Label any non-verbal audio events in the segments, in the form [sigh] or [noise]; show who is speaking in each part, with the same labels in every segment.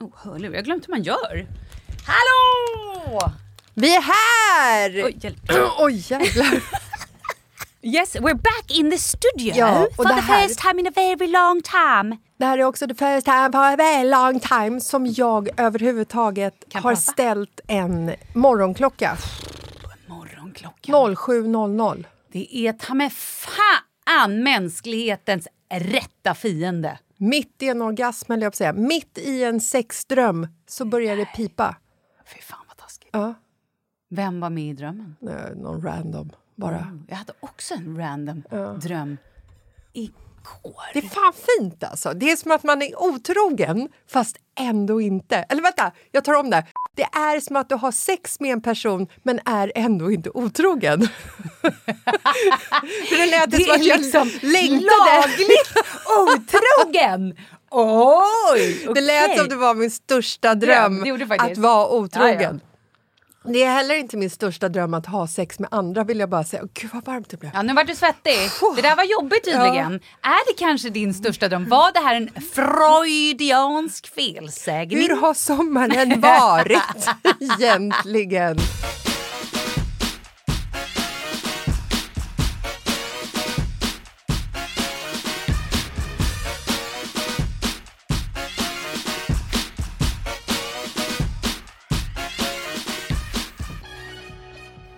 Speaker 1: Oh, hörlur. Jag har glömt hur man gör.
Speaker 2: Hallå!
Speaker 3: Vi är här!
Speaker 1: Oj, [clears throat] hjälp.
Speaker 3: Oj jävlar.
Speaker 1: Yes, we're back in the studio
Speaker 3: Ja, och
Speaker 1: for
Speaker 3: det
Speaker 1: the
Speaker 3: här-
Speaker 1: first time in a very long time.
Speaker 3: [laughs] Det här är också the first time for a very long time som jag överhuvudtaget
Speaker 1: Kan
Speaker 3: har
Speaker 1: prata.
Speaker 3: ställt en morgonklocka.
Speaker 1: Morgonklockan.
Speaker 3: 07.00.
Speaker 1: Det är ta mig fan mänsklighetens rätta fiende.
Speaker 3: Mitt i en orgasm, eller jag på att säga. Mitt i en sexdröm så börjar det pipa.
Speaker 1: Fy fan vad taskigt.
Speaker 3: Ja,
Speaker 1: Vem var med i drömmen? Mm,
Speaker 3: eh, någon random bara.
Speaker 1: Jag hade också en random dröm igår.
Speaker 3: Det är fan fint alltså. Det är som att man är otrogen fast ändå inte. Eller vänta, jag tar om det. Det är som att du har sex med en person men är ändå inte otrogen. För det lät
Speaker 1: Det
Speaker 3: som att
Speaker 1: är
Speaker 3: jag
Speaker 1: liksom
Speaker 3: längtade. [laughs]
Speaker 1: lagligt otrogen! Oj!
Speaker 3: Det lät
Speaker 1: okej.
Speaker 3: som det var min största
Speaker 1: Dröm,
Speaker 3: dröm
Speaker 1: det gjorde
Speaker 3: att
Speaker 1: faktiskt.
Speaker 3: vara otrogen. Det är heller inte min största dröm att ha sex med andra vill jag bara säga. Åh, Gud vad varmt det blev.
Speaker 1: Ja, nu vart du svettig. Det där var jobbigt tydligen. Är det kanske din största dröm? Var det här en freudiansk felsägning?
Speaker 3: Hur
Speaker 1: [laughs]
Speaker 3: har sommaren varit [laughs] egentligen?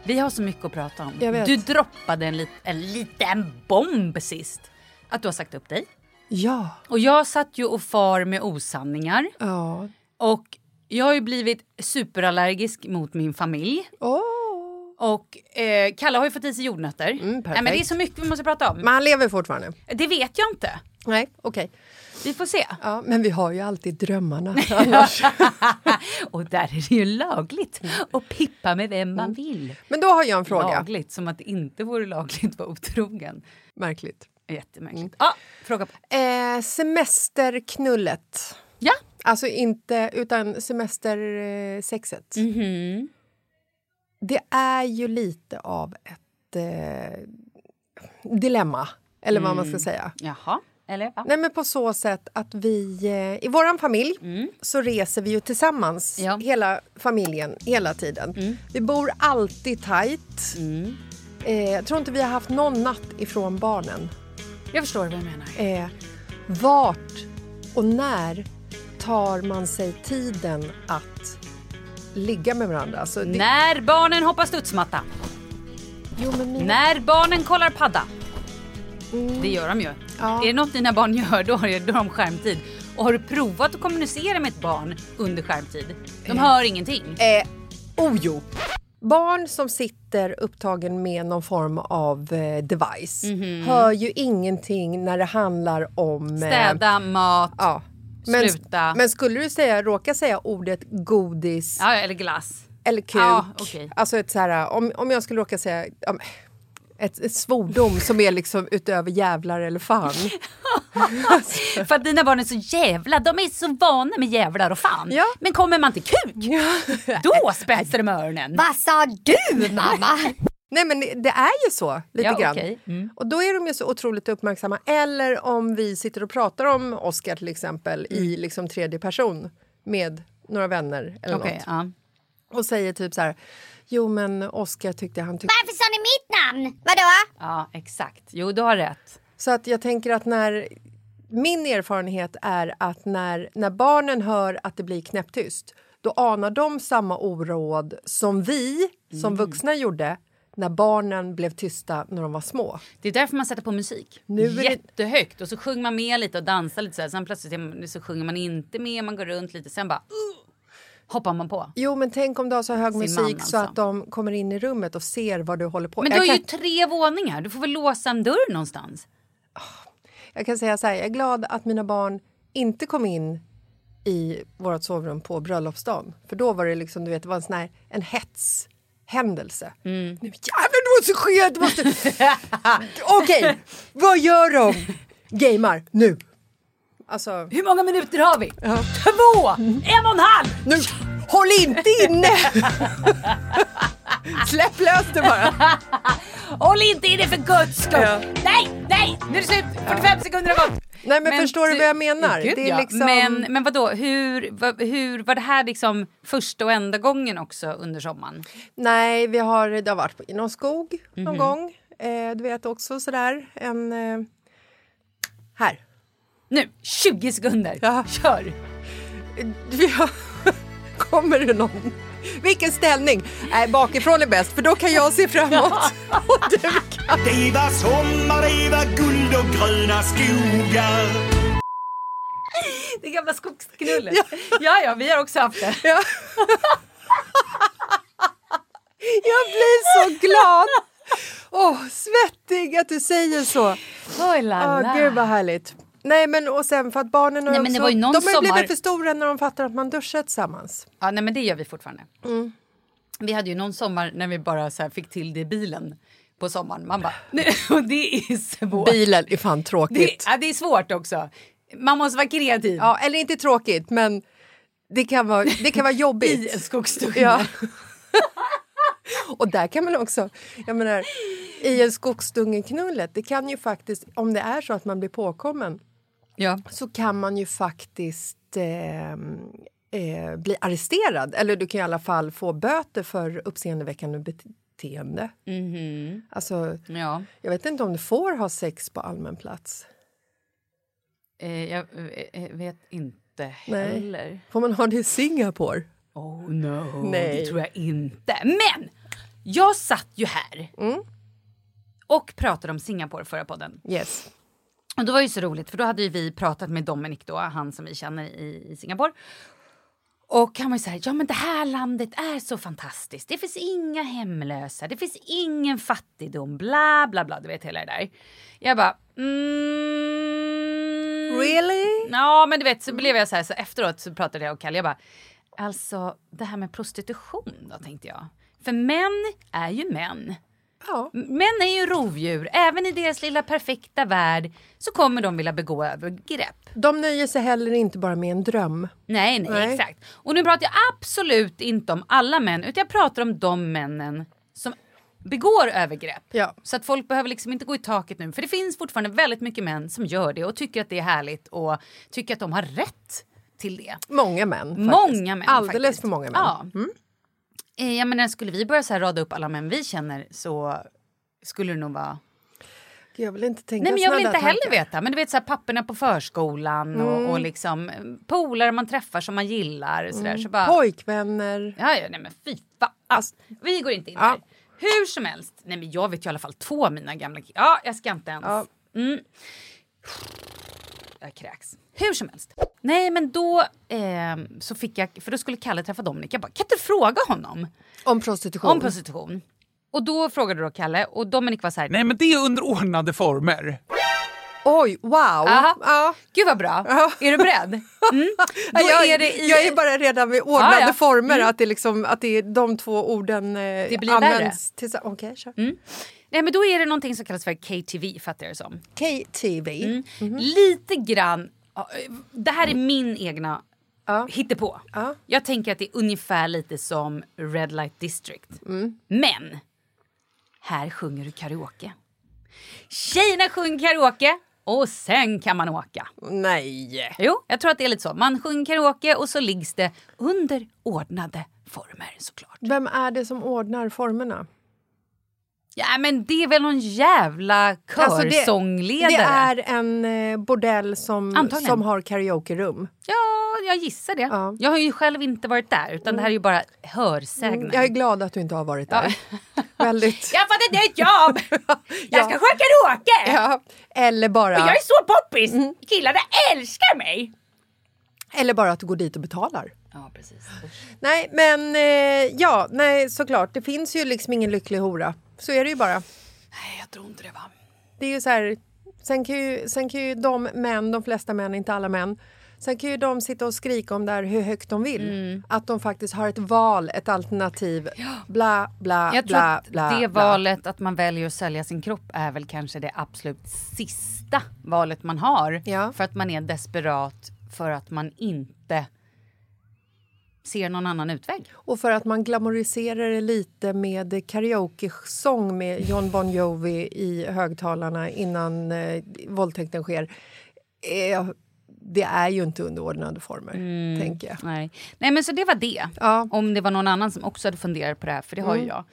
Speaker 1: Vi har så mycket att prata om.
Speaker 3: Jag vet.
Speaker 1: Du droppade en, lit, en liten bomb sist. Att du har sagt upp dig.
Speaker 3: Ja.
Speaker 1: Och jag satt ju och far med osanningar.
Speaker 3: Ja.
Speaker 1: Och jag har ju blivit superallergisk mot min familj.
Speaker 3: Åh.
Speaker 1: Och eh, Kalle har ju fått i sig jordnötter. Nej, men det är
Speaker 3: Mm, perfekt.
Speaker 1: så mycket vi måste prata om.
Speaker 3: Men han lever fortfarande?
Speaker 1: Det vet jag inte.
Speaker 3: Nej, okej.
Speaker 1: Vi får se.
Speaker 3: Ja, men vi har ju alltid [laughs] drömmarna annars.
Speaker 1: [laughs] och där är det ju lagligt att pippa med vem man vill.
Speaker 3: Men då har jag en Mm. fråga.
Speaker 1: Lagligt, som att det inte vore lagligt att vara otrogen.
Speaker 3: Märkligt.
Speaker 1: Jättemärkligt.
Speaker 3: Mm.
Speaker 1: Ja, fråga på.
Speaker 3: Eh, semesterknullet.
Speaker 1: Ja.
Speaker 3: Alltså inte, utan semestersexet. Mm-hmm. Det är ju lite av ett eh, dilemma, eller vad man ska säga.
Speaker 1: Jaha. Eller va?
Speaker 3: Nej, men på så sätt att vi... Eh, I vår familj så reser vi ju tillsammans,
Speaker 1: Ja.
Speaker 3: hela familjen, hela tiden. Vi bor alltid tajt. Eh, jag tror inte vi har haft någon natt ifrån barnen.
Speaker 1: Jag förstår vad du menar.
Speaker 3: Eh, vart och när tar man sig tiden att ligga med varandra? Alltså, det,
Speaker 1: När barnen hoppar studsmatta.
Speaker 3: Mm. Jo, men mina,
Speaker 1: När barnen kollar padda. Det gör de ju.
Speaker 3: Mm. Ja.
Speaker 1: Är det något dina barn gör, då har de- då har de skärmtid. Och har du provat att kommunicera med ett barn under skärmtid? De hör ingenting.
Speaker 3: Eh, ojo. Barn som sitter upptagen med någon form av eh, device
Speaker 1: Mhm.
Speaker 3: hör ju ingenting när det handlar om... eh,
Speaker 1: Städa, mat,
Speaker 3: ja. men,
Speaker 1: sluta.
Speaker 3: Men skulle du säga, råka säga ordet godis
Speaker 1: ja, eller glass.
Speaker 3: eller kuk?
Speaker 1: Ja, okej.
Speaker 3: Alltså ett så här, om, om jag skulle råka säga... ja, men, ett, ett svordom som är liksom utöver jävlar eller fan.
Speaker 1: [laughs] För att dina barn är så jävla, de är så vana med jävlar och fan.
Speaker 3: Ja.
Speaker 1: Men kommer man till kuk, då spetsar de öronen.
Speaker 2: Vad sa du mamma?
Speaker 3: Nej men det- det är ju så lite
Speaker 1: Ja,
Speaker 3: grann.
Speaker 1: okej. Mm.
Speaker 3: Och då är de ju så otroligt uppmärksamma. Eller om vi sitter och pratar om Oscar till exempel
Speaker 1: Mm.
Speaker 3: i liksom tredje person med några vänner
Speaker 1: [laughs]
Speaker 3: eller
Speaker 1: Okej,
Speaker 3: något.
Speaker 1: ja.
Speaker 3: Och säger typ så här. Jo men Oscar tyckte han tyckte...
Speaker 2: Varför sa ni mitt namn? Vadå?
Speaker 1: ja, exakt. Jo, du har rätt.
Speaker 3: Så att jag tänker att när... Min erfarenhet är att när, när barnen hör att det blir knäpptyst då anar de samma oråd som vi
Speaker 1: Mm.
Speaker 3: som vuxna gjorde när barnen blev tysta när de var små.
Speaker 1: Det är därför man sätter på musik.
Speaker 3: Nu är det-
Speaker 1: Jättehögt. Och så sjunger man med lite och dansar lite. Så här. Sen plötsligt är man- så sjunger man inte med, man går runt lite. Sen bara uh, hoppar man på.
Speaker 3: Jo, men tänk om du har så hög
Speaker 1: Sin
Speaker 3: musik
Speaker 1: man, alltså.
Speaker 3: så att de kommer in i rummet och ser vad du håller på
Speaker 1: Men du
Speaker 3: jag,
Speaker 1: har
Speaker 3: kan,
Speaker 1: ju tre våningar. Du får väl låsa en dörr någonstans.
Speaker 3: jag kan säga så här, jag är glad att mina barn inte kom in i vårt sovrum på bröllopsdagen. För då var det liksom, du vet, det var en sån här en hetshändelse.
Speaker 1: Mm.
Speaker 3: Nu jävlar, det måste ske! Det måste...
Speaker 1: [laughs]
Speaker 3: Okej, vad gör de? Gamar, nu! Alltså,
Speaker 1: Hur många minuter har vi? Två! En och en halv!
Speaker 3: nu! Håll inte inne!
Speaker 1: [laughs]
Speaker 3: Släpp lös det bara.
Speaker 1: Håll inte i det för guds skull!
Speaker 3: Ja.
Speaker 1: Nej, nej! Nu är det slut! 45 sekunder har gått!
Speaker 3: Nej, men förstår du vad jag menar?
Speaker 1: Gud,
Speaker 3: Det är
Speaker 1: ja.
Speaker 3: liksom-
Speaker 1: Men, men vadå, hur, vad, hur, var det här liksom första och enda gången också under sommaren?
Speaker 3: Nej, vi har, det har varit i någon skog
Speaker 1: Mhm.
Speaker 3: någon gång. Eh, du vet också sådär en... Eh, här.
Speaker 1: Nu, 20 sekunder!
Speaker 3: Ja.
Speaker 1: Kör!
Speaker 3: Vi har, [laughs] kommer det någon? Vilken ställning! Nej, bakifrån är bäst, för då kan jag
Speaker 1: [laughs]
Speaker 3: se framåt. Och du kan.
Speaker 4: Det var sommar, det var guld och gröna skogar
Speaker 1: Det gamla skogsknullet. Ja. ja, vi har också haft det.
Speaker 3: Ja. Jag blir så glad! Åh, svettig att du säger så.
Speaker 1: Oj, la,
Speaker 3: Oh,
Speaker 1: la.
Speaker 3: gud vad härligt. Nej men och sen för att barnen har
Speaker 1: Nej, men det
Speaker 3: också,
Speaker 1: var ju någon
Speaker 3: de har ju
Speaker 1: sommar-
Speaker 3: blivit för stora när de fattar att man duschar tillsammans.
Speaker 1: Ja, nej, men det gör vi fortfarande. Mm. Vi hade ju någon sommar när vi bara så här fick till det i bilen på sommaren. Man bara, nu, [laughs] och det är svårt.
Speaker 3: Bilen är fan
Speaker 1: Det,
Speaker 3: tråkigt.
Speaker 1: ja, det är svårt också. Man måste vara kreativ.
Speaker 3: Ja, eller inte tråkigt men det kan vara, det kan
Speaker 1: [laughs]
Speaker 3: vara
Speaker 1: I en
Speaker 3: jobbigt.
Speaker 1: skogsdunge.
Speaker 3: ja. [laughs] Och där kan man också, jag menar, i en skogsdungenknullet, det kan ju faktiskt, om det är så att man blir påkommen,
Speaker 1: Ja.
Speaker 3: så kan man ju faktiskt eh, eh, bli arresterad. Eller du kan i alla fall få böter för uppseendeväckande beteende.
Speaker 1: Mhm.
Speaker 3: Alltså,
Speaker 1: ja.
Speaker 3: jag vet inte om du får ha sex på allmän plats.
Speaker 1: Eh, jag eh, eh, vet inte
Speaker 3: Nej.
Speaker 1: heller.
Speaker 3: Får man ha det i Singapore?
Speaker 1: Oh no,
Speaker 3: Nej.
Speaker 1: det tror jag inte. Men jag satt ju här och pratade om Singapore förra podden.
Speaker 3: Yes.
Speaker 1: Och det var ju så roligt för då hade ju vi pratat med Dominic då, han som vi känner i, i Singapore. Och han var ju så här, ja men det här landet är så fantastiskt. Det finns inga hemlösa, det finns ingen fattigdom, bla bla bla, du vet hela det där. Jag bara, mm,
Speaker 3: Really?
Speaker 1: Ja, men du vet, så blev jag så här, så efteråt så pratade jag och Kalle, jag bara, alltså det här med prostitution då tänkte jag. För män är ju män.
Speaker 3: Ja.
Speaker 1: Män är ju rovdjur, även i deras lilla perfekta värld så kommer de vilja begå övergrepp.
Speaker 3: De nöjer sig heller inte bara med en dröm.
Speaker 1: Nej, nej,
Speaker 3: Nej.
Speaker 1: exakt. Och nu pratar jag absolut inte om alla män, utan jag pratar om de männen som begår övergrepp.
Speaker 3: Ja.
Speaker 1: Så att folk behöver liksom inte gå i taket nu, för det finns fortfarande väldigt mycket män som gör det och tycker att det är härligt och tycker att de har rätt till det.
Speaker 3: Många män. Faktiskt.
Speaker 1: Många män.
Speaker 3: Alldeles
Speaker 1: faktiskt.
Speaker 3: för många män. Mm.
Speaker 1: Ja. Eh, Jag menar, skulle vi börja så här rada upp alla män vi känner så skulle det nog vara...
Speaker 3: Gud, Jag vill inte tänka
Speaker 1: Nej, men jag vill
Speaker 3: såna
Speaker 1: inte
Speaker 3: där
Speaker 1: heller
Speaker 3: tankar.
Speaker 1: veta. Men du vet, så här, papperna på förskolan och,
Speaker 3: Mm.
Speaker 1: och liksom eh, polare man träffar som man gillar. och Så
Speaker 3: Mm.
Speaker 1: där, så bara,
Speaker 3: Pojkvänner.
Speaker 1: ja, ja, nej, men fy fan. Alltså, vi går inte in
Speaker 3: Ja.
Speaker 1: där. Hur som helst. Nej, men jag vet ju i alla fall två av mina gamla ki- Ja, jag ska inte ens.
Speaker 3: Ja.
Speaker 1: Mm. Jag kräks. Hur som helst. Nej, men då eh, så fick jag... För då skulle Kalle träffa Dominik. Jag bara, kan inte fråga honom
Speaker 3: Om prostitution.
Speaker 1: om prostitution? Och då frågade då Kalle och Dominik var så här...
Speaker 5: Nej, men det är under ordnade former.
Speaker 3: Oj, wow!
Speaker 1: Aha.
Speaker 3: Ja.
Speaker 1: Gud vad bra. Är du beredd?
Speaker 3: [laughs]
Speaker 1: Mm. Då
Speaker 3: jag,
Speaker 1: är det i... Ah,
Speaker 3: jag är bara redan vid ordnade
Speaker 1: Ja, ja.
Speaker 3: former, att, det liksom, att det är de två orden eh,
Speaker 1: Det blir Mm.
Speaker 3: används tillsammans. Okej, kör.
Speaker 1: Nej, men då är det någonting som kallas för KTV fattar jag det som.
Speaker 3: KTV.
Speaker 1: Mm. Lite grann... ja, Det här är min egna
Speaker 3: Mm. Ja.
Speaker 1: hittepå.
Speaker 3: Ja.
Speaker 1: Jag tänker att det är ungefär lite som Red Light District.
Speaker 3: Mm.
Speaker 1: Men här sjunger du karaoke. Tjejerna sjunger karaoke och sen kan man åka.
Speaker 3: Nej!
Speaker 1: Jo, jag tror att det är lite så. Man sjunger karaoke och så liggs det under ordnade former såklart.
Speaker 3: Vem är det som ordnar formerna?
Speaker 1: Ja men det är väl någon jävla
Speaker 3: Alltså, det-
Speaker 1: körsångledare?
Speaker 3: Det är en eh, bordell som,
Speaker 1: Antagligen.
Speaker 3: som har karaokerum.
Speaker 1: Ja, jag gissar det.
Speaker 3: Ja.
Speaker 1: Jag har ju själv inte varit där utan det här är ju bara hörsägner.
Speaker 3: Mm, Jag är glad att du inte har
Speaker 1: [laughs]
Speaker 3: varit där. Väldigt.
Speaker 1: Jag har fått ett nytt
Speaker 3: [laughs]
Speaker 1: jobb! Jag ska
Speaker 3: Ja.
Speaker 1: sköta karaoke!
Speaker 3: Ja. Mm. Eller, bara,
Speaker 1: Jag är så poppis! Killarna älskar mig!
Speaker 3: eller bara att du går dit och betalar.
Speaker 1: Ja, precis.
Speaker 3: Nej, men eh, ja, nej, såklart. Det finns ju liksom ingen lycklig hora. Så är det ju bara.
Speaker 1: Nej, jag tror inte det va.
Speaker 3: Det är ju så här, sen, kan ju, sen kan ju de män, de flesta män, inte alla män Sen kan ju de sitta och skrika om där hur högt de vill.
Speaker 1: Mm.
Speaker 3: Att de faktiskt har ett val, ett alternativ. Bla, bla,
Speaker 1: Jag tror
Speaker 3: bla,
Speaker 1: att
Speaker 3: bla.
Speaker 1: det
Speaker 3: bla.
Speaker 1: valet att man väljer att sälja sin kropp är väl kanske det absolut sista valet man har.
Speaker 3: Ja.
Speaker 1: För att man är desperat för att man inte ser någon annan utväg.
Speaker 3: Och för att man glamoriserar det lite med karaoke-sång med John Bon Jovi i högtalarna innan eh, våldtäkten sker. eh, det är ju inte underordnade former,
Speaker 1: Mm.
Speaker 3: tänker jag.
Speaker 1: Nej. Nej, men så det var det.
Speaker 3: Ja.
Speaker 1: Om det var någon annan som också hade funderat på det här, för det har ju jag.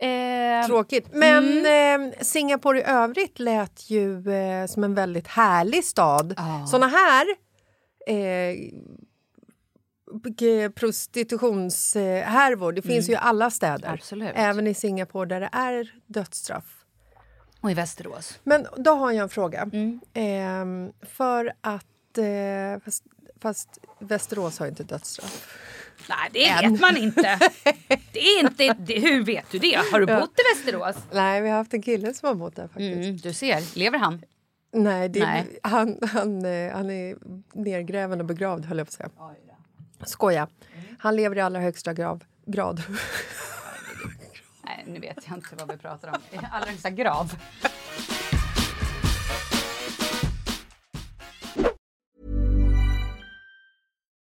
Speaker 1: Eh,
Speaker 3: Tråkigt. Men eh, Singapore i övrigt lät ju eh, som en väldigt härlig stad.
Speaker 1: Ja.
Speaker 3: Såna här eh, g- prostitutionshärvor eh, härvor, det finns ju i alla städer.
Speaker 1: Mm. Absolut.
Speaker 3: Även i Singapore där det är dödsstraff.
Speaker 1: och i Västerås.
Speaker 3: Men då har jag en fråga. Ehm, för att... Eh, fast, fast Västerås har ju inte dödsstraff.
Speaker 1: Nej, det vet man [laughs] inte. Det är inte det, hur vet du det? Har du bott i Västerås?
Speaker 3: Nej, vi har haft en kille som har bott där faktiskt.
Speaker 1: Mm, du ser, lever han?
Speaker 3: Nej, det,
Speaker 1: Nej.
Speaker 3: Han, han, eh, han är nergräven och begravd, höll jag på att säga. Skoja. Han lever i allra högsta grav, grad. [laughs]
Speaker 1: Nej, nu vet jag inte vad vi pratar om. I allra högsta grav.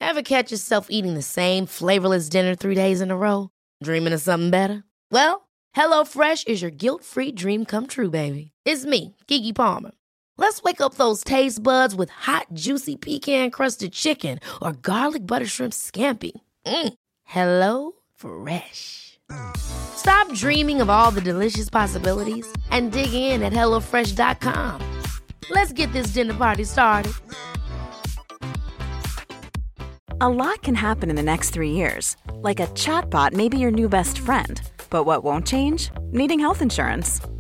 Speaker 6: Ever catch yourself eating the same flavorless dinner three days in a row? Dreaming of something better? Well, HelloFresh is your guilt free dream come true, baby. It's me, Gigi Palmer. Let's wake up those taste buds with hot, juicy pecan crusted chicken or garlic butter shrimp scampi. Mm. Hello Fresh. Stop dreaming of all the delicious possibilities and dig in at HelloFresh.com. Let's get this dinner party started.
Speaker 7: A lot can happen in the next three years. Like a chatbot may be your new best friend. But what won't change? Needing health insurance.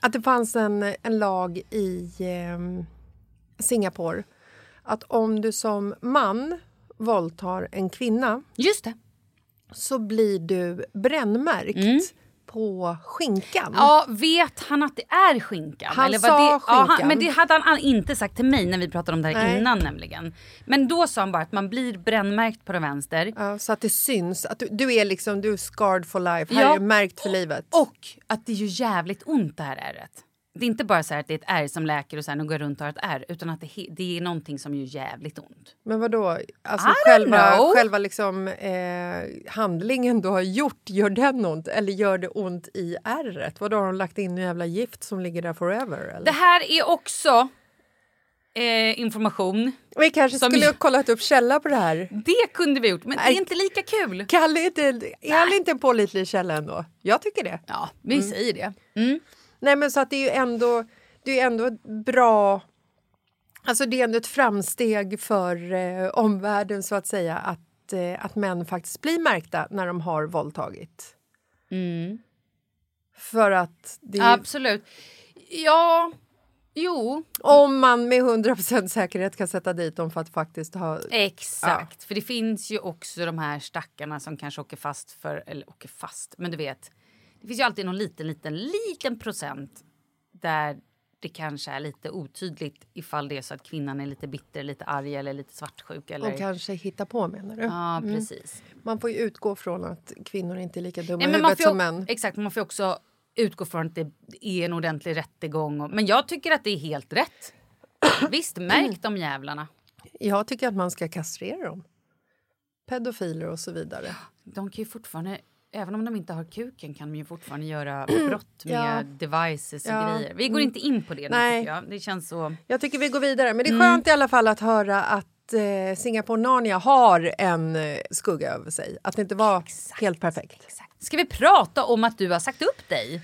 Speaker 3: att det fanns en, en lag i ehm, Singapore att om du som man våldtar en kvinna
Speaker 1: Just det.
Speaker 3: så blir du brännmärkt på skinkan.
Speaker 1: Mm. Ja, vet han att det är skinkan?
Speaker 3: Han
Speaker 1: vad
Speaker 3: sa
Speaker 1: det, Ja,
Speaker 3: skinkan.
Speaker 1: han, men det hade han all- inte sagt till mig när vi pratade om det här
Speaker 3: Nej.
Speaker 1: innan nämligen. Men då sa han bara att man blir brännmärkt på den vänster.
Speaker 3: Ja, så att det syns. Att du, du är liksom du är scarred for life. Här
Speaker 1: Ja.
Speaker 3: är du märkt för livet.
Speaker 1: Och att det gör jävligt ont det här ärret. Det är inte bara så här att det är ett ärr som läker och sen går jag runt och har ett ärr. Utan att det, he- det är någonting som gör jävligt ont.
Speaker 3: Men vad då? Alltså
Speaker 1: I don't
Speaker 3: själva,
Speaker 1: know.
Speaker 3: själva liksom, eh, handlingen du har gjort, gör den ont? Eller gör det ont i ärret? Vadå, har de lagt in en jävla gift som ligger där forever? Eller?
Speaker 1: Det här är också eh, information.
Speaker 3: Vi kanske
Speaker 1: som-
Speaker 3: skulle ha kollat upp källa på det här.
Speaker 1: Det kunde vi gjort, men det är inte lika kul.
Speaker 3: Kalle är, inte, är han inte en pålitlig källa ändå? Jag tycker det.
Speaker 1: Ja, vi säger det.
Speaker 3: Nej, men så att det är ju ändå, det är ju ändå ett bra... Alltså det är ändå ett framsteg för eh, omvärlden så att säga att, eh, att män faktiskt blir märkta när de har våldtagit.
Speaker 1: Mm.
Speaker 3: För att det är, ju-
Speaker 1: Absolut. Ja, jo,
Speaker 3: om man med 100 säkerhet kan sätta dit dem för att faktiskt ha...
Speaker 1: exakt. För det finns ju också de här stackarna som kanske åker fast för, eller åker fast, men du vet. Det finns ju alltid någon liten, liten, liten procent där det kanske är lite otydligt ifall det är så att kvinnan är lite bitter, lite arg eller lite svartsjuk. Eller...
Speaker 3: Och kanske hitta på, menar du?
Speaker 1: Ja, precis.
Speaker 3: Man får ju utgå från att kvinnor inte är lika dumma
Speaker 1: Nej,
Speaker 3: i
Speaker 1: men man
Speaker 3: huvudet
Speaker 1: får,
Speaker 3: som
Speaker 1: ju-
Speaker 3: män.
Speaker 1: exakt, man får ju också utgå från att det är en ordentlig rättegång. Och, men jag tycker att det är helt
Speaker 3: [coughs]
Speaker 1: rätt. Visst, märk de jävlarna.
Speaker 3: Jag tycker att man ska kastrera dem. Pedofiler och så vidare.
Speaker 1: De kan ju fortfarande, även om de inte har kuken kan de ju fortfarande
Speaker 3: [coughs]
Speaker 1: göra brott med
Speaker 3: Ja.
Speaker 1: devices och
Speaker 3: Ja. Mm.
Speaker 1: grejer. Vi går inte in på det nu
Speaker 3: Nej.
Speaker 1: tycker jag. Det känns så...
Speaker 3: Jag tycker vi går vidare.
Speaker 1: Mm.
Speaker 3: Men det är skönt i alla fall att höra att eh, Singapore Narnia har en eh, skugga över sig. Att det inte var helt perfekt.
Speaker 1: Ska vi prata om att du har sagt upp dig?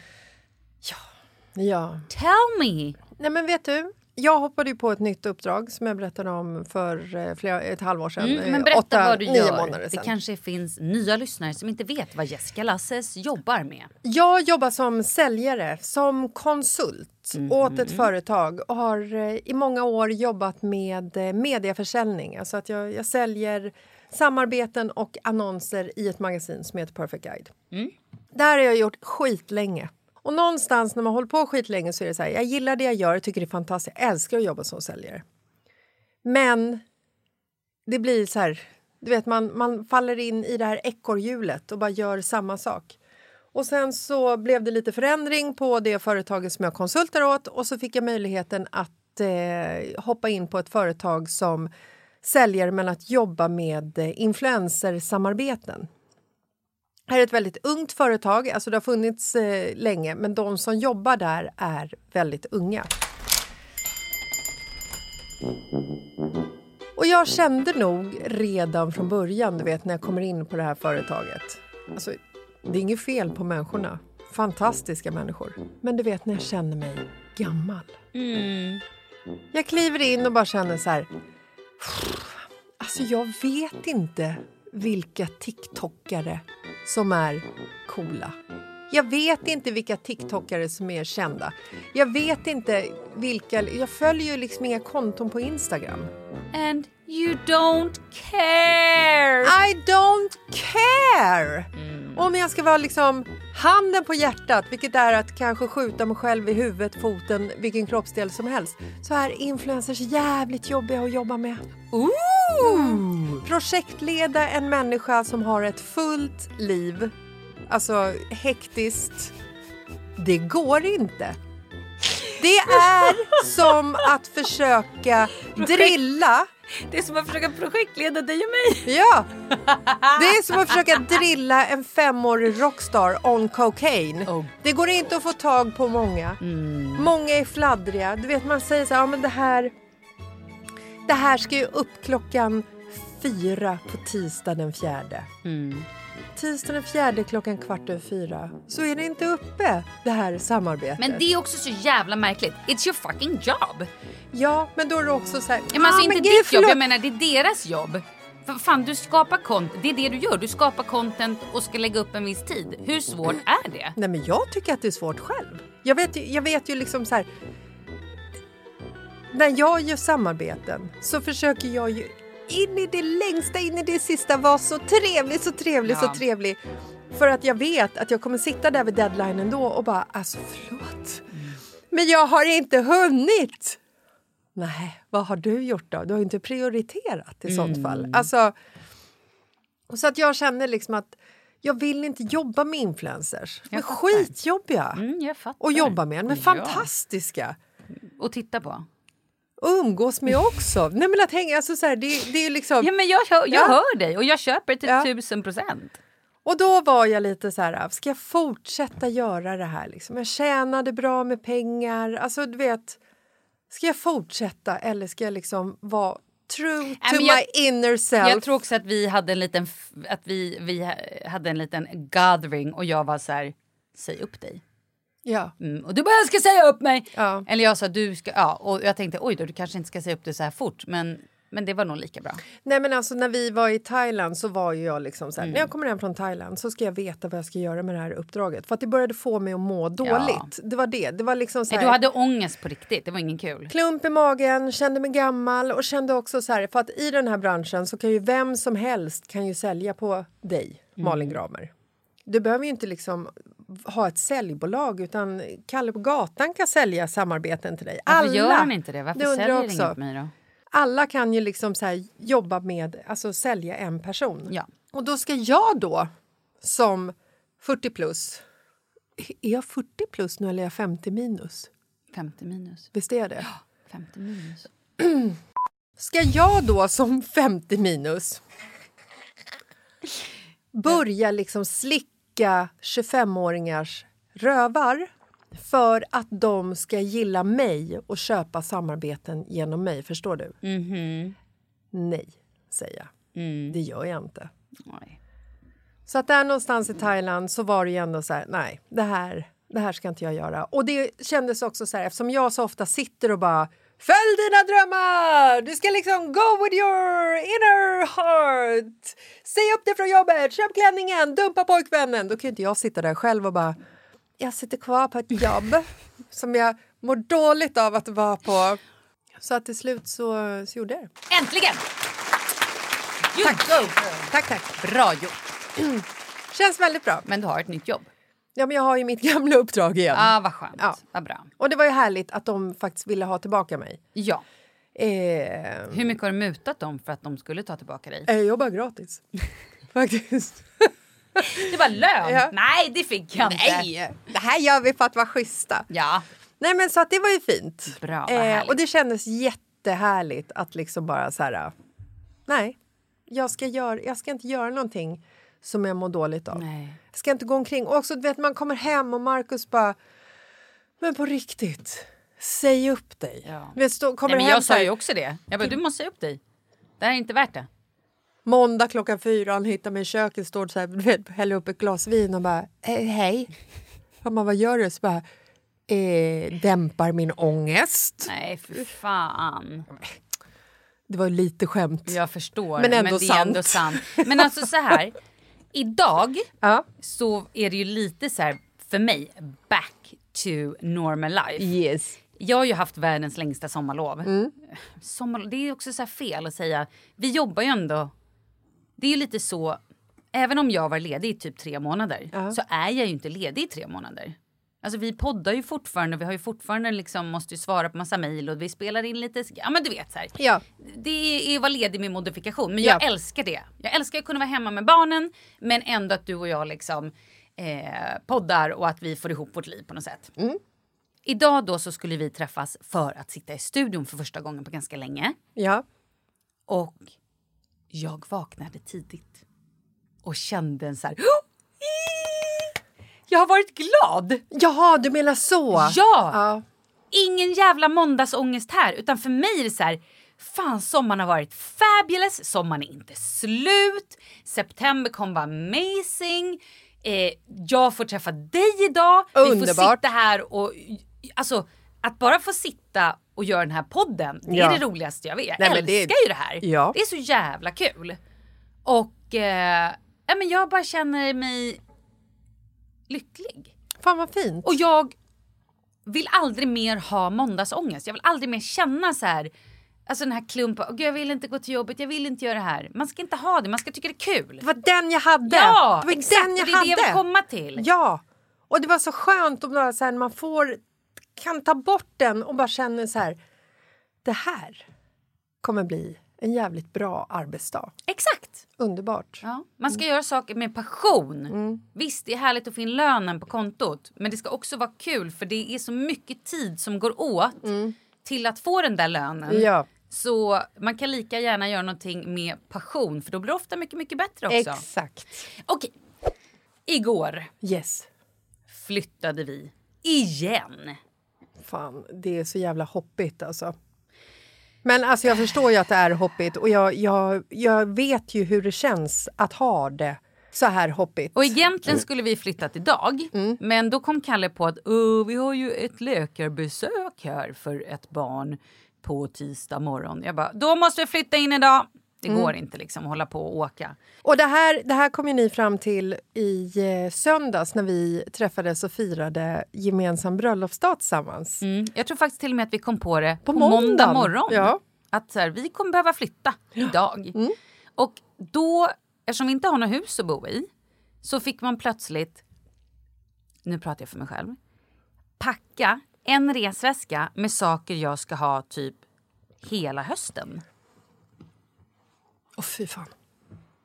Speaker 3: Ja.
Speaker 1: Tell me!
Speaker 3: Nej, men vet du? Jag hoppade ju på ett nytt uppdrag som jag berättade om för eh, flera, ett halvår sedan.
Speaker 1: Mm, men
Speaker 3: eh,
Speaker 1: berätta
Speaker 3: åtta,
Speaker 1: vad du
Speaker 3: nio
Speaker 1: gör.
Speaker 3: månader
Speaker 1: Det
Speaker 3: sedan.
Speaker 1: kanske finns nya lyssnare som inte vet vad Jessica Lasses jobbar med.
Speaker 3: Jag jobbar som säljare, som konsult åt ett företag och har eh, i många år jobbat med eh, mediaförsäljning. Alltså att jag, jag säljer samarbeten och annonser i ett magasin som heter Perfect Guide. Det här har jag gjort skitlänge. Och någonstans när man håller på skitlänge så är det så här, jag gillar det jag gör, jag tycker det är fantastiskt, jag älskar att jobba som säljare. Men det blir så här, du vet man, man faller in i det här ekorrhjulet och bara gör samma sak. Och sen så blev det lite förändring på det företaget som jag konsultar åt och så fick jag möjligheten att eh, hoppa in på ett företag som säljer men att jobba med eh, influencersamarbeten. Det här är ett väldigt ungt företag, alltså det har funnits eh, länge men de som jobbar där är väldigt unga. Och jag kände nog redan från början, du vet, när jag kommer in på det här företaget. Alltså, det är inget fel på människorna. Fantastiska människor. Men du vet, när jag känner mig gammal. Jag kliver in och bara känner så här... Alltså, jag vet inte vilka TikTokare som är coola. Jag vet inte vilka TikTokare som är kända. Jag vet inte vilka... Jag följer ju liksom inga konton på Instagram.
Speaker 1: And you don't care!
Speaker 3: I don't care! Om jag ska vara liksom handen på hjärtat, vilket är att kanske skjuta mig själv i huvudet, foten, vilken kroppsdel som helst, så är influencers jävligt jobbiga att jobba med. Mm. Projektleda en människa som har ett fullt liv, alltså hektiskt, det går inte. Det är som att försöka drilla
Speaker 1: Det är som att försöka projektleda dig och mig.
Speaker 3: Ja! Det är som att försöka drilla en femårig rockstar on cocaine.
Speaker 1: Oh.
Speaker 3: Det går inte att få tag på många.
Speaker 1: Mm.
Speaker 3: Många är fladdriga. Du vet, man säger så här, ja, men det här... Det här ska ju upp klockan fyra på tisdag den fjärde.
Speaker 1: Mm.
Speaker 3: Tisdag den fjärde klockan kvart över fyra så är det inte uppe, det här samarbetet.
Speaker 1: Men det är också så jävla märkligt. It's your fucking job!
Speaker 3: Ja, men då är det också så här...
Speaker 1: Ja, men alltså
Speaker 3: "Ah,
Speaker 1: inte
Speaker 3: men gud,
Speaker 1: ditt jobb,
Speaker 3: förlåt."
Speaker 1: jag menar det är deras jobb. För fan, du skapar content, det är det du gör. Du skapar content och ska lägga upp en viss tid. Hur svårt är det?
Speaker 3: Nej, men jag tycker att det är svårt själv. Jag vet ju, jag vet ju liksom så här... När jag gör samarbeten så försöker jag ju in i det längsta, in i det sista vara så trevlig, så trevlig, så
Speaker 1: Ja.
Speaker 3: trevlig. För att jag vet att jag kommer sitta där vid deadlinen då och bara, alltså förlåt.
Speaker 1: Mm.
Speaker 3: Men jag har inte hunnit! Nej, vad har du gjort då? Du har ju inte prioriterat i sånt
Speaker 1: Mm.
Speaker 3: fall. Alltså, och så att jag känner liksom att jag vill inte jobba med influencers. De är
Speaker 1: fattar.
Speaker 3: skitjobbiga
Speaker 1: Mm, jag fattar.
Speaker 3: att jobba med. De är
Speaker 1: Ja.
Speaker 3: fantastiska
Speaker 1: Och titta på.
Speaker 3: att umgås med också. Nej, men att hänga, alltså, så här, det, det är ju liksom...
Speaker 1: Ja, men jag, hör- jag
Speaker 3: Ja.
Speaker 1: hör dig och jag köper det till
Speaker 3: Ja.
Speaker 1: tusen procent.
Speaker 3: Och då var jag lite så här, ska jag fortsätta göra det här? Liksom? Jag tjänade bra med pengar. Alltså, du vet, ska jag fortsätta eller ska jag liksom vara true to
Speaker 1: men jag-
Speaker 3: my inner self?
Speaker 1: Jag tror också att vi hade en liten, f- att vi, vi ha- hade en liten gathering och jag var så här, säg upp dig.
Speaker 3: ja.
Speaker 1: Mm, och du bara, jag ska säga upp mig!
Speaker 3: Ja.
Speaker 1: Eller jag sa, du ska, ja. Och jag tänkte, oj då, du kanske inte ska säga upp dig så här fort. Men, men det var nog lika bra.
Speaker 3: Nej, men alltså, när vi var i Thailand så var ju jag liksom så här,
Speaker 1: Mm.
Speaker 3: när jag kommer hem från Thailand så ska jag veta vad jag ska göra med det här uppdraget. För att det började få mig att må dåligt. Det var det. Det var liksom så
Speaker 1: Nej,
Speaker 3: här,
Speaker 1: du hade ångest på riktigt, det var ingen kul.
Speaker 3: klump i magen, kände mig gammal och kände också så här, för att i den här branschen så kan ju vem som helst kan ju sälja på dig,
Speaker 1: Mm.
Speaker 3: Malin Gramer. Du behöver ju inte liksom ha ett säljbolag utan Kalle på gatan kan sälja samarbeten till dig.
Speaker 1: Varför
Speaker 3: Alla,
Speaker 1: gör han inte det? Varför
Speaker 3: Det undrar
Speaker 1: säljer
Speaker 3: jag
Speaker 1: ingen
Speaker 3: också.
Speaker 1: på mig då?
Speaker 3: alla kan ju liksom så här jobba med, alltså sälja en person.
Speaker 1: Ja.
Speaker 3: Och då ska jag då som 40 plus, är jag 40 plus nu eller är jag 50 minus?
Speaker 1: 50 minus.
Speaker 3: Visst är jag det?
Speaker 1: 50 minus.
Speaker 3: Ska jag då som 50 minus börja liksom slicka 25-åringars rövar för att de ska gilla mig och köpa samarbeten genom mig? Förstår du? Nej, säger jag. Det gör jag inte.
Speaker 1: Oj.
Speaker 3: Så att där någonstans i Thailand så var det ju ändå så här, nej, det här, det här ska inte jag göra. Och det kändes också så här, eftersom jag så ofta sitter och bara Följ dina drömmar! Du ska liksom go with your inner heart! Säg upp dig från jobbet, köp klänningen, dumpa pojkvännen! Då kan ju inte jag sitta där själv och bara Jag sitter kvar på ett jobb [laughs] som jag mår dåligt av att vara på. Så att till slut så, så gjorde jag det.
Speaker 1: Äntligen! You go!
Speaker 3: Tack, tack.
Speaker 1: Bra gjort.
Speaker 3: Känns väldigt bra.
Speaker 1: Men du har ett nytt jobb.
Speaker 3: Ja, men jag har ju mitt [laughs] gamla uppdrag igen.
Speaker 1: Ah, vad skönt.
Speaker 3: Mm. Ja.
Speaker 1: Vad bra.
Speaker 3: Och det var ju härligt att de faktiskt ville ha tillbaka mig.
Speaker 1: Ja.
Speaker 3: Eh,
Speaker 1: Hur mycket har du mutat dem för att de skulle ta tillbaka dig?
Speaker 3: jag
Speaker 1: [laughs]
Speaker 3: jobbar gratis. Faktiskt.
Speaker 1: Det
Speaker 3: [laughs]
Speaker 1: var lön!
Speaker 3: Ja.
Speaker 1: Nej, det fick jag inte.
Speaker 3: Det här gör vi för att vara schyssta.
Speaker 1: Ja.
Speaker 3: Nej men så att det var ju fint. Eh,
Speaker 1: Bra, vad härligt.
Speaker 3: och det kändes jättehärligt att liksom bara så här. Nej, jag ska, gör, jag ska inte göra någonting som jag mår dåligt av.
Speaker 1: Nej.
Speaker 3: Jag ska inte gå omkring. Och också du vet man kommer hem och Markus bara. Men på riktigt, säg upp dig.
Speaker 1: Ja.
Speaker 3: Du Vet, stå, kommer
Speaker 1: Nej, men
Speaker 3: hem
Speaker 1: jag
Speaker 3: så här,
Speaker 1: sa ju också det. Jag bara, du måste säga upp dig. Det här är inte värt det.
Speaker 3: Måndag klockan fyra, han hittar mig i köket, står så här, du vet, häller upp ett glas vin och bara eh, “Hej”. Och man, vad gör du? Så bara eh, “Dämpar min ångest”.
Speaker 1: Nej, för fan.
Speaker 3: Det var ju lite skämt. Ja.
Speaker 1: Jag förstår.
Speaker 3: Men ändå
Speaker 1: det är ändå sant.
Speaker 3: sant. [laughs]
Speaker 1: Men alltså så här. Idag
Speaker 3: Ja.
Speaker 1: så är det ju lite så här för mig back to normal life.
Speaker 3: Yes.
Speaker 1: Jag har ju haft världens längsta sommarlov. Sommarlov det är också så här fel att säga. Vi jobbar ju ändå. Det är ju lite så. Även om jag var ledig i typ tre månader så är jag ju inte ledig i tre månader. Alltså vi poddar ju fortfarande. Vi har ju fortfarande liksom måste ju svara på massa mejl och vi spelar in lite. Ja men du vet så här.
Speaker 3: Ja.
Speaker 1: Det är att vara ledig med modifikation. Men jag
Speaker 3: Ja.
Speaker 1: älskar det. Jag älskar att kunna vara hemma med barnen. Men ändå att du och jag liksom eh, poddar och att vi får ihop vårt liv på något sätt. Idag då så skulle vi träffas för att sitta i studion för första gången på ganska länge.
Speaker 3: ja.
Speaker 1: Och jag vaknade tidigt. Och kände en så här... [gasps] "Åh! Jag har varit glad!
Speaker 3: Jaha, du menar så?
Speaker 1: Ja!
Speaker 3: ja.
Speaker 1: ingen jävla måndagsångest här utan för mig är det så här Fan sommaren har varit fabulous, sommaren är inte slut, september kommer vara amazing, eh, jag får träffa dig idag, vi får
Speaker 3: Underbart.
Speaker 1: sitta här och alltså att bara få sitta och göra den här podden, det
Speaker 3: Ja.
Speaker 1: är det roligaste jag vet. Jag
Speaker 3: Nej, men
Speaker 1: älskar
Speaker 3: det-
Speaker 1: ju det här.
Speaker 3: Ja.
Speaker 1: Det är så jävla kul. Och eh, ja, men jag bara känner mig lycklig.
Speaker 3: Fan vad fint.
Speaker 1: Och jag vill aldrig mer ha måndagsångest. Jag vill aldrig mer känna så här Alltså den här klumpen, åh gud jag vill inte gå till jobbet, jag vill inte göra det här. Man ska inte ha det, man ska tycka det är kul.
Speaker 3: Det var den jag hade!
Speaker 1: Ja,
Speaker 3: det var
Speaker 1: exakt,
Speaker 3: den jag
Speaker 1: det är det jag vill
Speaker 3: hade.
Speaker 1: komma till.
Speaker 3: Ja, och det var så skönt om några, så här, när man får, kan ta bort den och bara känner så här, det här kommer bli en jävligt bra arbetsdag.
Speaker 1: Exakt!
Speaker 3: Underbart.
Speaker 1: Ja. Man
Speaker 3: Mm.
Speaker 1: ska göra saker med passion. Visst, det är härligt att få in lönen på kontot. Men det ska också vara kul för det är så mycket tid som går åt till att få den där lönen.
Speaker 3: Mm. Ja.
Speaker 1: Så man kan lika gärna göra någonting med passion för då blir det ofta mycket, mycket bättre också.
Speaker 3: Exakt.
Speaker 1: Okej. Igår
Speaker 3: Yes.
Speaker 1: flyttade vi igen.
Speaker 3: Fan, det är så jävla hoppigt alltså. Men alltså jag förstår ju att det är hoppigt och jag, jag, jag vet ju hur det känns att ha det så här hoppigt.
Speaker 1: Och egentligen skulle vi flyttat idag, men då kom Kalle på att "Åh, vi har ju ett läkarbesök här för ett barn på tisdag morgon. Jag bara, då måste vi flytta in idag. Det går inte liksom att hålla på och åka.
Speaker 3: Och det här, det här kom ju ni fram till i eh, söndags när vi träffades och firade gemensam bröllopsdag tillsammans.
Speaker 1: Mm. Jag tror faktiskt till och med att vi kom på det på,
Speaker 3: måndagen.
Speaker 1: måndag morgon.
Speaker 3: Ja. Mm.
Speaker 1: Att så här, vi kommer behöva flytta idag. Och då, eftersom vi inte har något hus att bo i, så fick man plötsligt, nu pratar jag för mig själv, packa en resväska med saker jag ska ha typ hela hösten.
Speaker 3: Åh fy fan.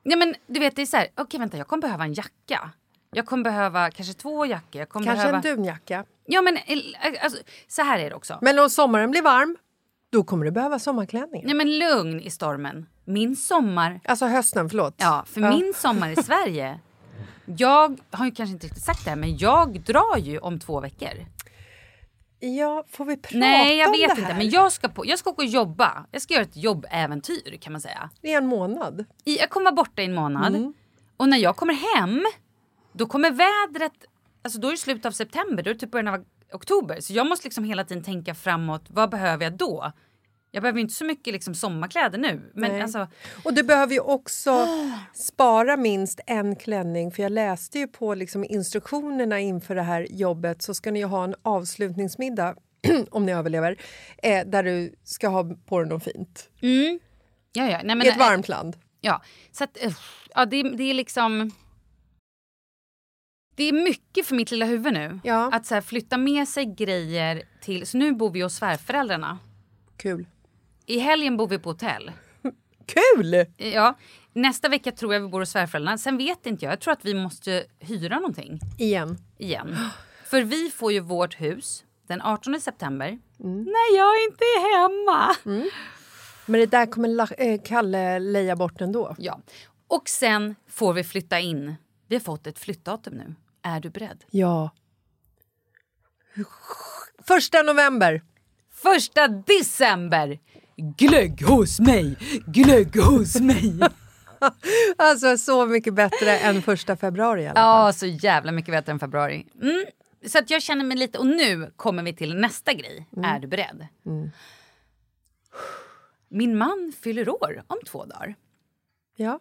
Speaker 1: Nej men du vet det är så här, okej vänta jag kommer behöva en jacka. Jag kommer behöva kanske två jackor. Jag kommer
Speaker 3: Kanske
Speaker 1: behöva...
Speaker 3: en dunjacka.
Speaker 1: Ja men el- alltså, så här är det också.
Speaker 3: Men om sommaren blir varm, då kommer du behöva sommarklänningar.
Speaker 1: Nej men lugn i stormen. Min sommar
Speaker 3: Alltså hösten, förlåt.
Speaker 1: Ja, för min sommar i Sverige... Jag har ju kanske inte riktigt sagt det här, men jag drar ju om två veckor.
Speaker 3: Ja, får vi prata
Speaker 1: Nej, jag
Speaker 3: om
Speaker 1: vet
Speaker 3: det här?
Speaker 1: inte. Men jag ska, på, jag ska åka och jobba. Jag ska göra ett jobbäventyr kan man säga.
Speaker 3: Det är en månad.
Speaker 1: I, jag kommer vara borta i en månad.
Speaker 3: Mm.
Speaker 1: Och när jag kommer hem, då kommer vädret... Alltså då är det slutet av september, då är det typ början av oktober. Så jag måste liksom hela tiden tänka framåt, vad behöver jag då? Jag behöver ju inte så mycket liksom sommarkläder nu. Men
Speaker 3: Nej.
Speaker 1: alltså,
Speaker 3: Och du behöver ju också
Speaker 1: Ah.
Speaker 3: spara minst en klänning för jag läste ju på liksom instruktionerna inför det här jobbet så ska ni ju ha en avslutningsmiddag [clears throat] om ni överlever eh, där du ska ha på dig något fint.
Speaker 1: ja, ja. Nej, men,
Speaker 3: I ett varmt land.
Speaker 1: Ja, så att, uff, ja, det, det är liksom... Det är mycket för mitt lilla huvud nu.
Speaker 3: Ja.
Speaker 1: Att så här, flytta med sig grejer till... Så nu bor vi hos svärföräldrarna.
Speaker 3: Kul.
Speaker 1: I helgen bor vi på hotell.
Speaker 3: Kul!
Speaker 1: Ja, nästa vecka tror jag vi bor hos svärföräldrarna. Sen vet inte jag. Jag tror att vi måste hyra någonting
Speaker 3: Igen.
Speaker 1: igen. För vi får ju vårt hus den 18 september. När jag inte är hemma.
Speaker 3: Men det där kommer la- eh, Kalle leja bort ändå.
Speaker 1: Ja. Och sen får vi flytta in. Vi har fått ett flyttdatum nu. Är du beredd?
Speaker 3: Ja. Första november.
Speaker 1: Första december! Glögg hos mig, glögg hos mig.
Speaker 3: Alltså så mycket bättre än första februari. i alla fall.
Speaker 1: Ja, så jävla mycket bättre än februari. Mm. Så att jag känner mig lite... Och nu kommer vi till nästa grej. Är du beredd? Min man fyller år om två dagar.
Speaker 3: Ja.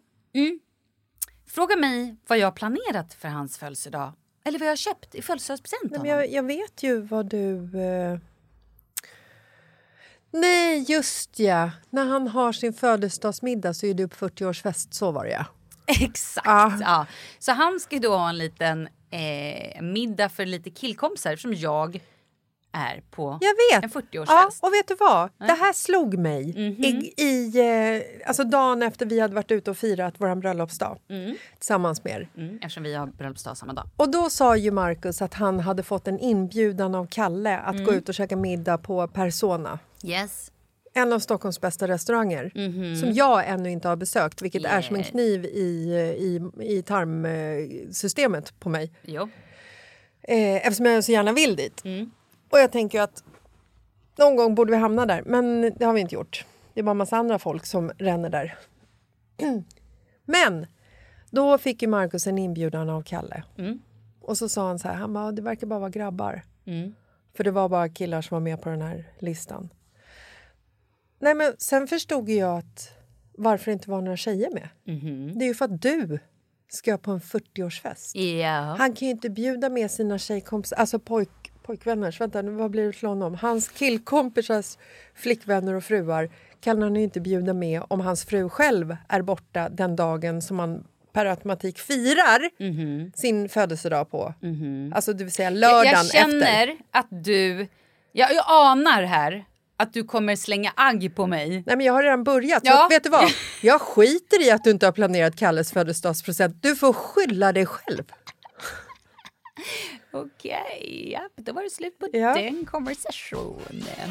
Speaker 1: Fråga mig vad jag har planerat för hans födelsedag. Eller vad jag har köpt i födelsedagspresent
Speaker 3: Nej,
Speaker 1: av
Speaker 3: men
Speaker 1: honom. [laughs]
Speaker 3: jag, jag vet ju vad du... Eh... Nej, just ja. När han har sin födelsedagsmiddag så är du på 40-årsfest. Så var det, ja.
Speaker 1: Exakt.
Speaker 3: Ja.
Speaker 1: Ja. Så han ska ju då ha en liten eh, middag för lite killkompisar eftersom jag är på
Speaker 3: Jag
Speaker 1: en Mhm.
Speaker 3: vet.
Speaker 1: 40-årsfest.
Speaker 3: Ja, och vet du vad? Det här slog mig. I, i, eh, alltså dagen efter vi hade varit ute och firat vår bröllopsdag tillsammans med er.
Speaker 1: Mm, eftersom vi har bröllopsdag samma dag.
Speaker 3: Och då sa ju Markus att han hade fått en inbjudan av Kalle att
Speaker 1: Mm.
Speaker 3: gå ut och käka middag på Persona.
Speaker 1: Yes.
Speaker 3: en av Stockholms bästa restauranger som jag ännu inte har besökt, vilket är som en
Speaker 1: Yes.
Speaker 3: kniv i, i, i tarmsystemet på mig
Speaker 1: Jo.
Speaker 3: eh, eftersom jag så gärna vill dit. Och jag tänker ju att någon gång borde vi hamna där, men det har vi inte gjort. Det är bara en massa andra folk som ränner där. [clears throat] men då fick ju Markus en inbjudan av Kalle. Och så sa han så här, han bara, det verkar bara vara grabbar. För det var bara killar som var med på den här listan. Nej, men sen förstod ju jag att varför det inte var några tjejer med. Det är ju för att du ska på en 40-årsfest.
Speaker 1: Ja. eh,
Speaker 3: Han kan ju inte bjuda med sina tjejkompisar, alltså pojk, pojkvänners, vänta nu, vad blir det för honom? Hans killkompisars flickvänner och fruar kan han ju inte bjuda med om hans fru själv är borta den dagen som man per automatik firar sin födelsedag på. Alltså det vill säga lördagen
Speaker 1: jag
Speaker 3: efter.
Speaker 1: känner att du... Jag, jag anar här att du kommer slänga agg på mig.
Speaker 3: Nej men jag har redan börjat,
Speaker 1: Ja.
Speaker 3: så vet du
Speaker 1: [laughs]
Speaker 3: vad? Jag skiter i att du inte har planerat Kalles födelsedagspresent. Du får skylla dig själv.
Speaker 1: Okej, ja, då var det slut på
Speaker 3: Ja.
Speaker 1: den konversationen.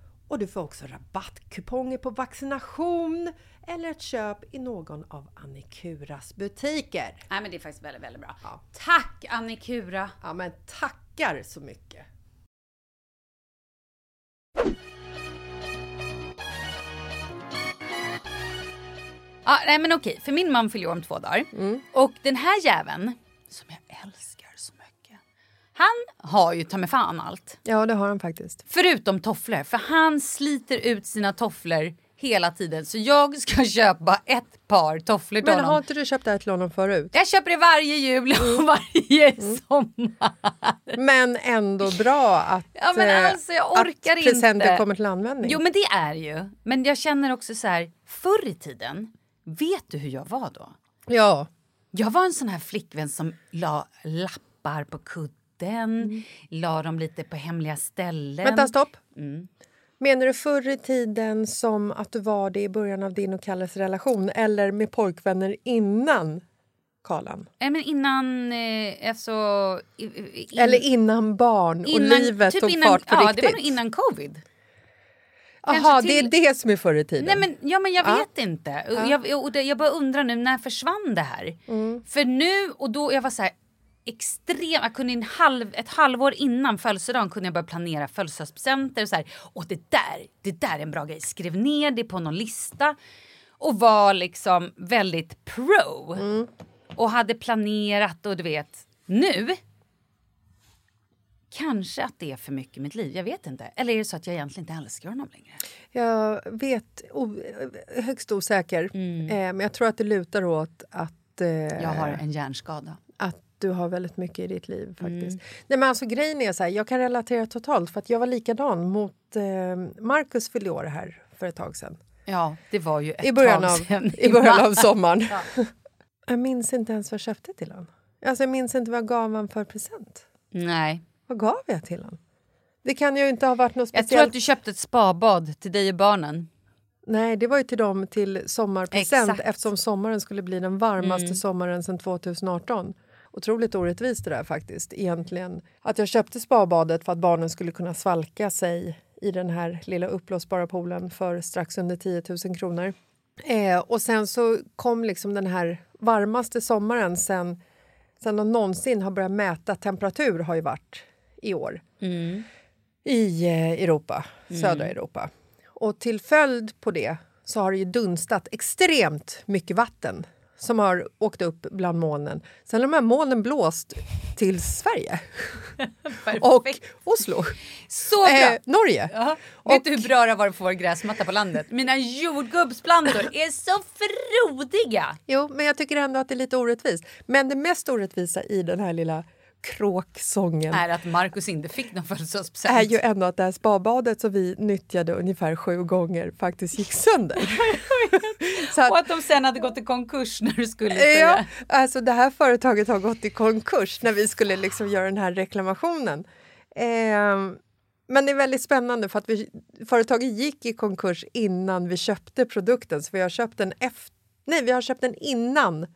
Speaker 3: Och du får också rabattkuponger på vaccination eller ett köp i någon av Annikuras butiker.
Speaker 2: Nej men det är faktiskt väldigt, väldigt bra. Tack Annikura!
Speaker 3: Ja, men tackar så mycket!
Speaker 1: Ja, nej men okej, för min man fyller ju om två dagar. Och den här jäveln, som jag älskar så mycket. Han har ju ta mig fan allt.
Speaker 3: Ja, det har han faktiskt.
Speaker 1: Förutom tofflor, för han sliter ut sina tofflor hela tiden. Så jag ska [laughs] köpa ett par tofflor till
Speaker 3: Men
Speaker 1: honom.
Speaker 3: har inte du köpt det här till honom förut?
Speaker 1: Jag köper det varje jul och varje sommar.
Speaker 3: Men ändå bra att,
Speaker 1: [laughs] Ja, men
Speaker 3: eh,
Speaker 1: alltså, jag orkar
Speaker 3: att presenter
Speaker 1: inte.
Speaker 3: kommer till användning.
Speaker 1: Jo men det är ju. Men jag känner också så här, förr i tiden, vet du hur jag var då?
Speaker 3: Ja,
Speaker 1: Jag var en sån här flickvän som la lappar på kudden, la dem lite på hemliga ställen.
Speaker 3: vänta stopp.
Speaker 1: Mm.
Speaker 3: Menar du förr i tiden som att du var det i början av din och Kalles relation eller med pojkvänner innan Karlan?
Speaker 1: Nej, men innan, eh, alltså... i- i- in-
Speaker 3: Eller innan barn och livet tog
Speaker 1: innan,
Speaker 3: fart på
Speaker 1: ja,
Speaker 3: riktigt?
Speaker 1: det var nog innan covid.
Speaker 3: Jaha,
Speaker 1: kanske
Speaker 3: det är
Speaker 1: till-
Speaker 3: det som är förr i tiden?
Speaker 1: Nej, men, ja, men jag
Speaker 3: Ja. Mm.
Speaker 1: vet inte. Och Jag, och det, jag bara undrar nu, när försvann det här? För nu, och då jag var så här extrem, jag kunde en halv, ett halvår innan födelsedagen kunde jag börja planera födelsedagspresenter och så här, och det där, det där är en bra grej, skrev ner det på någon lista och var liksom väldigt pro
Speaker 3: Mm.
Speaker 1: och hade planerat och du vet, nu Kanske att det är för mycket i mitt liv, jag vet inte. Eller är det så att jag egentligen inte älskar honom längre?
Speaker 3: Jag vet, o, högst osäker,
Speaker 1: Mm.
Speaker 3: eh, men jag tror att det lutar åt att... eh,
Speaker 1: Jag har en hjärnskada.
Speaker 3: att du har väldigt mycket i ditt liv.
Speaker 1: Mm.
Speaker 3: faktiskt. Nej, men alltså, grejen är så här, Jag kan relatera totalt, för att jag var likadan mot eh, Marcus fyllde år här för ett tag sedan.
Speaker 1: Ja, det var ju ett
Speaker 3: I början
Speaker 1: tag
Speaker 3: av,
Speaker 1: sedan.
Speaker 3: i
Speaker 1: [laughs]
Speaker 3: början av sommaren. jag minns inte ens vad jag köpte till honom. Alltså, jag minns inte vad jag gav honom för present.
Speaker 1: Nej.
Speaker 3: Vad gav jag till honom? Det kan ju inte ha varit något
Speaker 1: Jag tror
Speaker 3: speciellt.
Speaker 1: att du köpte ett spabad till dig och barnen.
Speaker 3: Nej, det var ju till dem till sommarpresent
Speaker 1: Exakt.
Speaker 3: eftersom sommaren skulle bli den varmaste sommaren sedan 2018. Otroligt orättvist det där faktiskt egentligen. Att jag köpte spabadet för att barnen skulle kunna svalka sig i den här lilla uppblåsbara poolen för strax under 10 000 kronor. Eh, och sen så kom liksom den här varmaste sommaren sen, sen de någonsin har börjat mäta temperatur har ju varit i år i eh, Europa,
Speaker 1: Mm.
Speaker 3: södra Europa. Och till följd på det så har det ju dunstat extremt mycket vatten som har åkt upp bland molnen. Sen har de här molnen blåst
Speaker 1: [laughs]
Speaker 3: till Sverige [laughs] och Oslo,
Speaker 1: Så bra!
Speaker 3: eh, Norge.
Speaker 1: Ja. Vet du hur bra det har varit på vår gräsmatta på landet? Mina jordgubbsplantor är så frodiga!
Speaker 3: Jo, men jag tycker ändå att det är lite orättvist. Men det mest orättvisa i den här lilla kråksången
Speaker 1: Är att Marcus inte fick någon födelsedagspresent.
Speaker 3: är ju ändå att det här spabadet som vi nyttjade ungefär sju gånger faktiskt
Speaker 1: [laughs]
Speaker 3: gick sönder. [laughs] Så att-
Speaker 1: Och att de sen hade gått i konkurs när du skulle
Speaker 3: Ja,
Speaker 1: säga.
Speaker 3: alltså det här företaget har gått i konkurs när vi skulle liksom göra den här reklamationen. Ehm, men det är väldigt spännande för att vi, företaget gick i konkurs innan vi köpte produkten. Så vi har köpt den efter, nej, vi har köpt den innan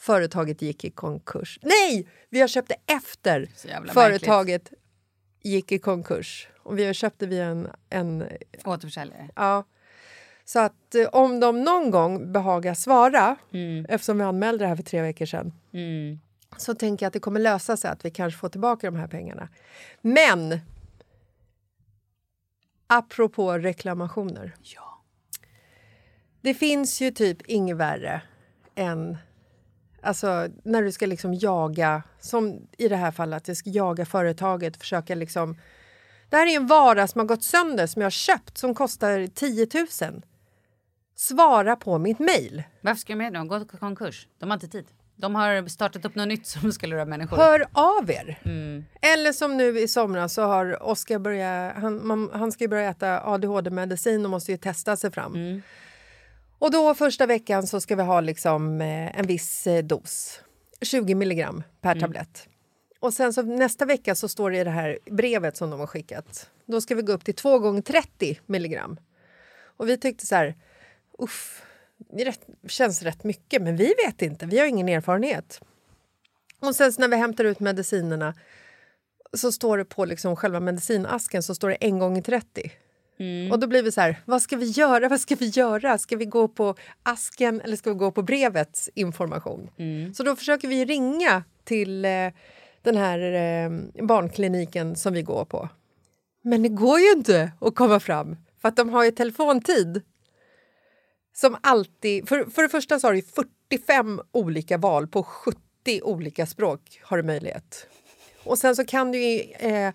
Speaker 3: företaget gick i konkurs. Nej, vi har köpt det efter
Speaker 1: Så jävla
Speaker 3: företaget gick i konkurs. Och vi har köpt det via en, en
Speaker 1: Återförsäljare.
Speaker 3: Ja. Så att eh, om de någon gång behagar svara, eftersom vi anmälde det här för tre veckor sedan så tänker jag att det kommer lösa sig att vi kanske får tillbaka de här pengarna. Men apropå reklamationer. Det finns ju typ inget värre än Alltså när du ska liksom jaga, som i det här fallet, jag ska jaga företaget, försöka liksom det här är en vara som har gått sönder som jag har köpt som kostar 10 000. Svara på mitt mejl.
Speaker 1: Varför ska de göra det? De går i konkurs. De har inte tid. De har startat upp något nytt som skulle röra människor.
Speaker 3: Hör av er! Eller som nu i somras så har Oskar börjat... Han, man, han ska ju börja äta adhd-medicin och måste ju testa sig fram. Och då första veckan så ska vi ha liksom eh, en viss eh, dos. 20 milligram per tablett. Och sen så nästa vecka så står det i det här brevet som de har skickat. Då ska vi gå upp till 2 gånger 30 milligram. Och vi tyckte så här, uff, det är rätt, känns rätt mycket men vi vet inte, vi har ingen erfarenhet. Och sen så när vi hämtar ut medicinerna så står det på liksom själva medicinasken så står det en gång i 30. Och då blir vi så här, vad ska vi göra? Vad ska vi göra? Ska vi gå på asken eller ska vi gå på brevets information? Så då försöker vi ringa till eh, den här eh, barnkliniken som vi går på. Men det går ju inte att komma fram, för att de har ju telefontid. Som alltid, för, för det första så har du 45 olika val på 70 olika språk. har du möjlighet. Och sen så kan du ju, eh,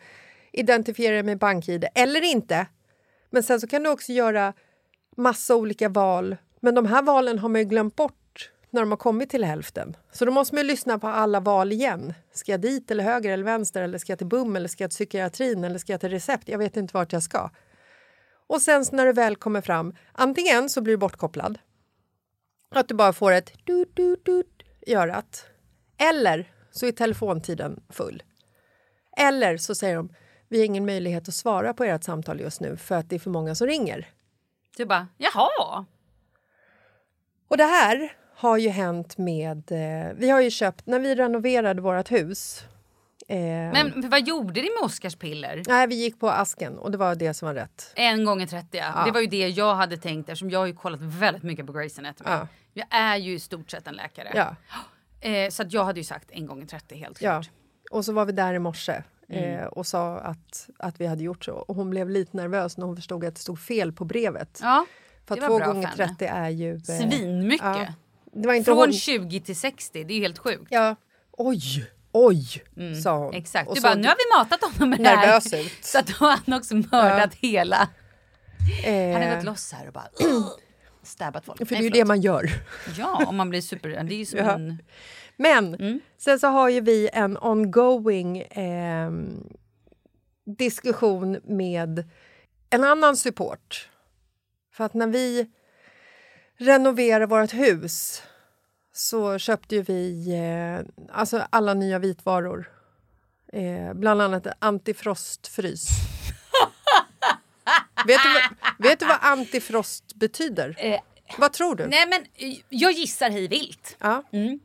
Speaker 3: identifiera dig med bank-id eller inte. Men sen så kan du också göra massa olika val. Men de här valen har man ju glömt bort när de har kommit till hälften. Så då måste man ju lyssna på alla val igen. Ska jag dit eller höger eller vänster eller ska jag till BUM eller ska jag till psykiatrin eller ska jag till recept? Jag vet inte vart jag ska. Och sen när du väl kommer fram, antingen så blir du bortkopplad. Att du bara får ett dut, dut, dut i örat. Eller så är telefontiden full. Eller så säger de vi har ingen möjlighet att svara på ert samtal just nu för att det är för många som ringer.
Speaker 1: Du bara, jaha!
Speaker 3: Och det här har ju hänt med... Eh, vi har ju köpt, när vi renoverade vårt hus... Eh,
Speaker 1: Men vad gjorde ni med Oscarspiller?
Speaker 3: Nej, vi gick på asken och det var det som var rätt.
Speaker 1: En gånger 30. Det var ju det jag hade tänkt eftersom jag har ju kollat väldigt mycket på Grey's Anatomy.
Speaker 3: Ja.
Speaker 1: Jag är ju i stort sett en läkare.
Speaker 3: Ja,
Speaker 1: Eh, så att jag hade ju sagt en gånger 30 helt
Speaker 3: ja.
Speaker 1: klart.
Speaker 3: Och så var vi där i morse
Speaker 1: Mm.
Speaker 3: eh, och sa att, att vi hade gjort så. Och hon blev lite nervös när hon förstod att det stod fel på brevet.
Speaker 1: Ja.
Speaker 3: För
Speaker 1: det
Speaker 3: att
Speaker 1: var
Speaker 3: två
Speaker 1: bra
Speaker 3: gånger
Speaker 1: för henne.
Speaker 3: 30 är ju... Eh,
Speaker 1: Svinmycket.
Speaker 3: ja. Det var inte
Speaker 1: Från
Speaker 3: hon...
Speaker 1: 20 till 60, det är ju helt sjukt.
Speaker 3: Ja. Oj, oj, sa hon.
Speaker 1: Mm. Exakt.
Speaker 3: Och
Speaker 1: Du
Speaker 3: så-
Speaker 1: bara, nu har vi matat honom med det här.
Speaker 3: Nervös ut.
Speaker 1: [laughs] Så att då har han också mördat hela.
Speaker 3: eh,
Speaker 1: Han hade gått loss här och bara [clears throat] stabbat folk.
Speaker 3: Eh, För det är
Speaker 1: Nej,
Speaker 3: ju det
Speaker 1: förlåt.
Speaker 3: man gör.
Speaker 1: Ja, om man blir super... Det är ju som
Speaker 3: Ja.
Speaker 1: en...
Speaker 3: Men
Speaker 1: Mm.
Speaker 3: sen så har ju vi en ongoing ehm, diskussion med en annan support. För att när vi renoverade vårt hus så köpte ju vi eh, alltså alla nya vitvaror. Eh, bland annat
Speaker 1: [laughs]
Speaker 3: antifrostfrys. vet, du vad, vet du vad antifrost betyder?
Speaker 1: Eh,
Speaker 3: vad tror du?
Speaker 1: Nej, men eh, jag gissar hej vilt.
Speaker 3: Ja.
Speaker 1: Mm.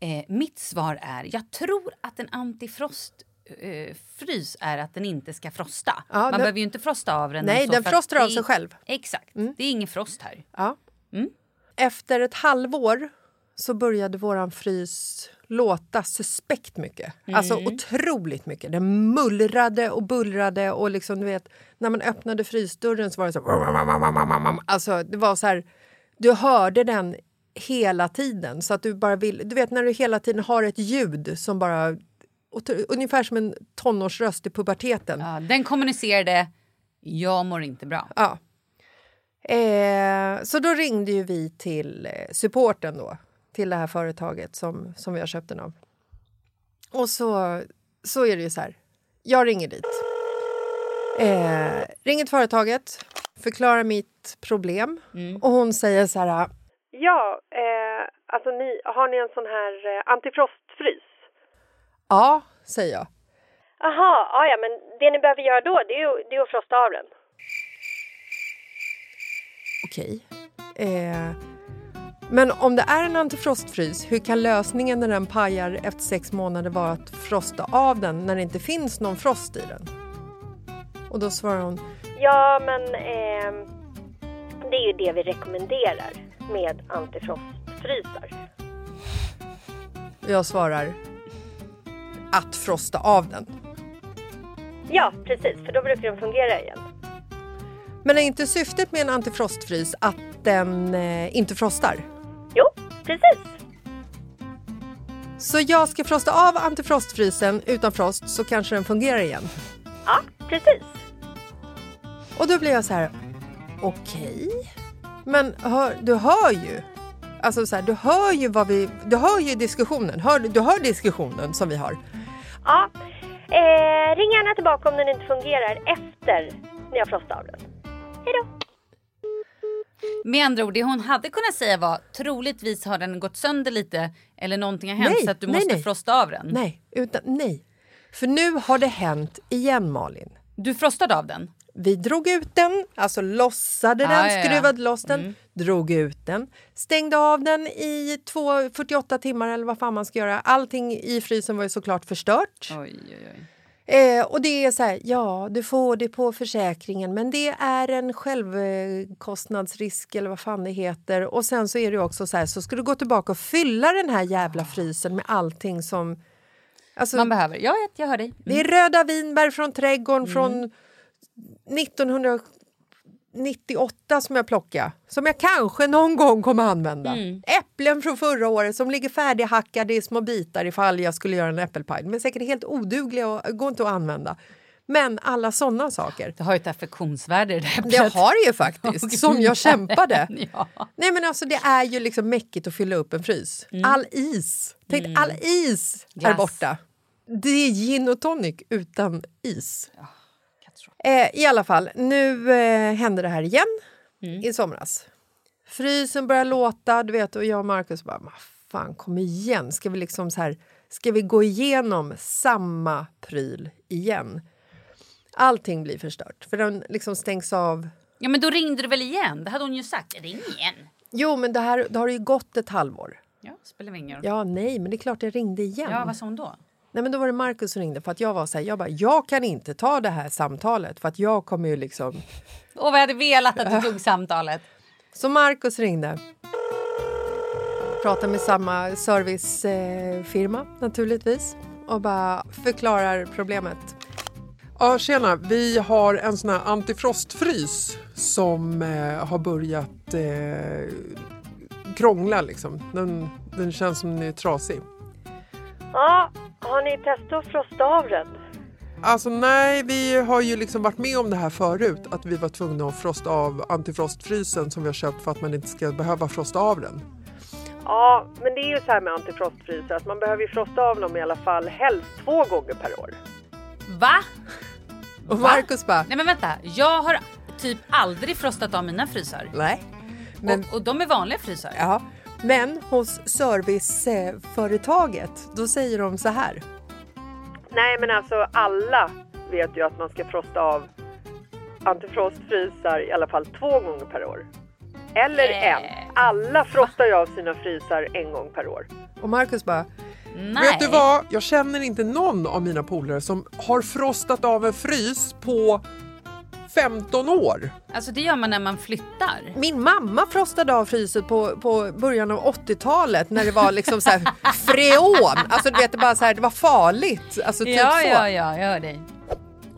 Speaker 1: Eh, mitt svar är, jag tror att en antifrost eh, frys är att den inte ska frosta.
Speaker 3: Ja,
Speaker 1: Man
Speaker 3: den-
Speaker 1: behöver ju inte frosta av den.
Speaker 3: Nej,
Speaker 1: och så,
Speaker 3: den
Speaker 1: för att
Speaker 3: frostar av
Speaker 1: det-
Speaker 3: sig själv. Mm.
Speaker 1: Exakt, det är ingen frost här.
Speaker 3: Ja. Efter ett halvår så började våran frys låta suspekt mycket. Alltså otroligt mycket. Den mullrade och bullrade och liksom du vet, när man öppnade frysdörren så var det så här, Alltså det var så här, du hörde den hela tiden så att du bara vill, du vet när du hela tiden har ett ljud som bara otro- Ungefär som en tonårsröst i puberteten.
Speaker 1: Ja, den kommunicerade, jag mår inte bra.
Speaker 3: Ja. Eh, så då ringde ju vi till eh, supporten då, till det här företaget som, som vi har köpt den av. Och så, så är det ju så här, jag ringer dit. Eh, ringer till företaget, förklarar mitt problem och hon säger så här... Ja,
Speaker 8: eh,
Speaker 3: alltså ni, har ni en sån här antifrostfrys? Ja, säger jag.
Speaker 8: Aha, ja, ja, men det ni behöver göra då det är, ju, det är att frosta av den.
Speaker 3: Okej. Eh, men om det är en antifrostfrys, hur kan lösningen när den pajar efter sex månader vara att frosta av den när det inte finns någon frost i den? Och då svarar hon,
Speaker 8: Ja, men ehm, det är ju det vi rekommenderar med antifrostfrysar.
Speaker 3: och jag svarar att frosta av den.
Speaker 8: Ja, precis, för då brukar den fungera igen.
Speaker 3: Men är inte syftet med en antifrostfrys att den eh, inte frostar?
Speaker 8: Jo, precis.
Speaker 3: Så jag ska frosta av antifrostfrysen utan frost så kanske den fungerar igen.
Speaker 8: Ja, precis.
Speaker 3: Och då blir jag så här, okej. Men hör, du hör ju. Alltså så här, du hör ju vad vi, du hör ju diskussionen. Hör, du hör diskussionen som vi har.
Speaker 1: Mm.
Speaker 8: Ja. Eh, ring gärna tillbaka om den inte fungerar efter ni har frostat av den. Hej då!
Speaker 1: Med andra ord, det hon hade kunnat säga var troligtvis har den gått sönder lite eller någonting har hänt
Speaker 3: Nej,
Speaker 1: så att du
Speaker 3: nej,
Speaker 1: måste
Speaker 3: nej.
Speaker 1: frosta av den.
Speaker 3: Nej, utan nej. För nu har det hänt igen Malin.
Speaker 1: Du frostade av den?
Speaker 3: Vi drog ut den, alltså lossade
Speaker 1: Ah,
Speaker 3: den,
Speaker 1: ja, Mm. ja.
Speaker 3: skruvade loss den, drog ut den, stängde av den i 2, 48 timmar eller vad fan man ska göra. Allting i frysen var ju såklart förstört.
Speaker 1: Oj, oj, oj.
Speaker 3: Eh, Eh, och det är så här, ja, du får det på försäkringen men det är en självkostnadsrisk eller vad fan det heter. Och sen så är det ju också så här, så ska du gå tillbaka och fylla den här jävla frysen med allting som... alltså,
Speaker 1: Man behöver. Jag vet, jag hör dig.
Speaker 3: Det är röda vinbär från trädgården från 1998 som jag plockade, som jag kanske någon gång kommer använda. Äpplen från förra året som ligger färdighackade i små bitar ifall jag skulle göra en äppelpaj. Men säkert helt odugliga och går inte att använda. Men alla såna saker.
Speaker 1: Det har ju ett affektionsvärde det där
Speaker 3: Det har det ju faktiskt, som jag kämpade.
Speaker 1: ja.
Speaker 3: Nej men alltså det är ju liksom mäckigt att fylla upp en frys. All is, tänk all is är
Speaker 1: Glass.
Speaker 3: borta. Det är gin och tonic utan is. eh, I alla fall, nu eh, hände det här igen i somras. Frysen börjar låta, du vet, och jag och Markus bara, "Ma fan kom igen, ska vi liksom så här, ska vi gå igenom samma pryl igen? Allting blir förstört, för den liksom stängs av
Speaker 1: ja, men då ringde du väl igen? Det hade hon ju sagt. Ring igen.
Speaker 3: Jo, men det här, det har ju gått ett halvår.
Speaker 1: Ja, spelar väl ingen roll.
Speaker 3: Ja, nej, men det är klart jag ringde igen.
Speaker 1: Ja, vad sa hon då?
Speaker 3: Nej, men då var det Markus som ringde för att jag var så här, jag bara, jag kan inte ta det här samtalet för att jag kommer ju liksom.
Speaker 1: Åh, vad jag hade velat att [laughs] du tog samtalet.
Speaker 3: Så Markus ringde. Pratar med samma servicefirma naturligtvis och bara förklarar problemet.
Speaker 9: Ja, tjena. Vi har en sån här antifrostfrys som eh, har börjat eh, krångla liksom. Den, den känns som den är trasig.
Speaker 8: Ja, har ni testat att frosta av den?
Speaker 9: Alltså nej, vi har ju liksom varit med om det här förut. Att vi var tvungna att frosta av antifrostfrysen som vi har köpt för att man inte ska behöva frosta av den.
Speaker 10: Ja, men det är ju så här med antifrostfryser att man behöver ju frosta av dem i alla fall helst två gånger per år.
Speaker 1: Va?
Speaker 3: Och Markus bara,
Speaker 1: Nej men vänta, jag har typ aldrig frostat av mina frysar.
Speaker 3: nej. Men-
Speaker 1: Och, och de är vanliga frysar.
Speaker 3: Ja. Men hos serviceföretaget, då säger de så här.
Speaker 10: Nej, men alltså alla vet ju att man ska frosta av antifrostfrysar i alla fall två gånger per år. Eller
Speaker 8: Eh.
Speaker 10: en. Alla frostar ju av sina frysar en gång per år.
Speaker 3: Och Markus bara,
Speaker 9: Vet du vad? Jag känner inte någon av mina polare som har frostat av en frys på 15 år.
Speaker 1: Alltså det gör man när man flyttar.
Speaker 3: Min mamma frostade av fryset på, på början av 80-talet när det var liksom så här freon. Alltså du vet, det, bara så här, det var farligt. Alltså, typ
Speaker 1: ja,
Speaker 3: så.
Speaker 1: ja, ja, jag hör dig.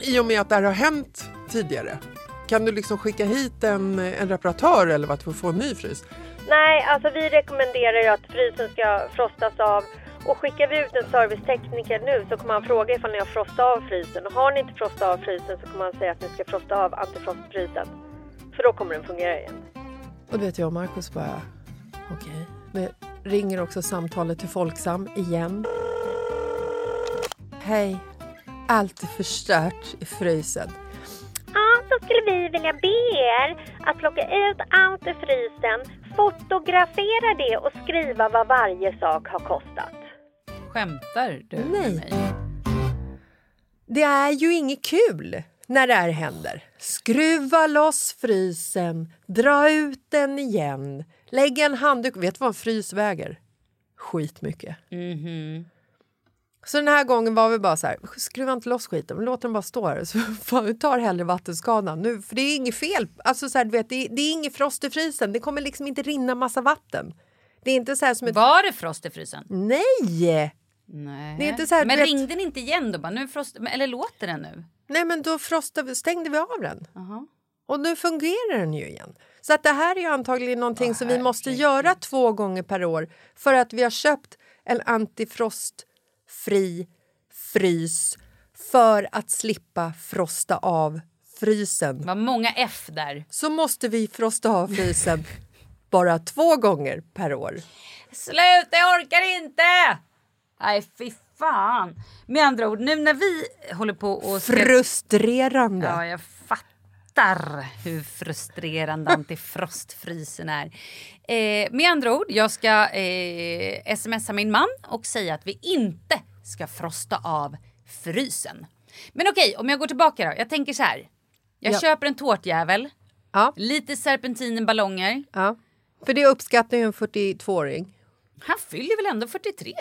Speaker 9: I och med att det här har hänt tidigare, kan du liksom skicka hit en, en reparatör eller vad, för att få en ny frys?
Speaker 8: Nej, alltså vi rekommenderar ju att frysen ska frostas av. Och skickar vi ut en servicetekniker nu så kommer han fråga ifall ni har frostat av frysen. Och har ni inte frostat av frysen så kommer han säga att ni ska frosta av antifrostfrysen. För då kommer den fungera igen.
Speaker 3: Och du vet jag och Markus bara, okej. Okay. Ringer också samtalet till Folksam igen. Hej, allt är förstört i frysen.
Speaker 8: Ja, då skulle vi vilja be er att plocka ut allt ur frysen, fotografera det och skriva vad varje sak har kostat.
Speaker 1: Skämtar du med
Speaker 3: mig? Det är ju inget kul när det här händer. Skruva loss frysen, dra ut den igen, lägg en handduk. Vet du vad en frys väger? Skitmycket.
Speaker 1: Mhm.
Speaker 3: Så den här gången var vi bara så här, skruva inte loss skiten, men låt den bara stå här. Så [laughs] fan, vi tar hellre vattenskadan nu, för det är inget fel. Alltså så här, du vet, det, är, det är inget frost i frysen, det kommer liksom inte rinna massa vatten. Det är inte så här som ett...
Speaker 1: Var det frost i frysen?
Speaker 3: Nej!
Speaker 1: Nej.
Speaker 3: Mm. Det är inte så här,
Speaker 1: men
Speaker 3: du vet-
Speaker 1: ringde den inte igen då? Bara, nu är frost... men- Eller låter den nu?
Speaker 3: Nej, men då frostade vi, stängde vi av den. Och nu fungerar den ju igen. Så att det här är ju antagligen någonting som vi måste göra två gånger per år för att vi har köpt en antifrostfri frys för att slippa frosta av frysen.
Speaker 1: Vad många F där.
Speaker 3: Så måste vi frosta av
Speaker 1: [laughs]
Speaker 3: frysen bara två gånger per år.
Speaker 1: Sluta, jag orkar inte! Nej, fy fan. Med andra ord, nu när vi håller på och... ska-
Speaker 3: Frustrerande.
Speaker 1: Ja, jag fattar hur frustrerande antifrostfrysen är. Eh, med andra ord, jag ska eh, smsa min man och säga att vi inte ska frosta av frysen. Men okej, om jag går tillbaka då. Jag tänker så här. Jag
Speaker 3: Ja.
Speaker 1: köper en tårtjävel,
Speaker 3: Ja.
Speaker 1: lite serpentinenballonger.
Speaker 3: Ja. För det uppskattar ju en 42-åring.
Speaker 1: Han fyller väl ändå 43?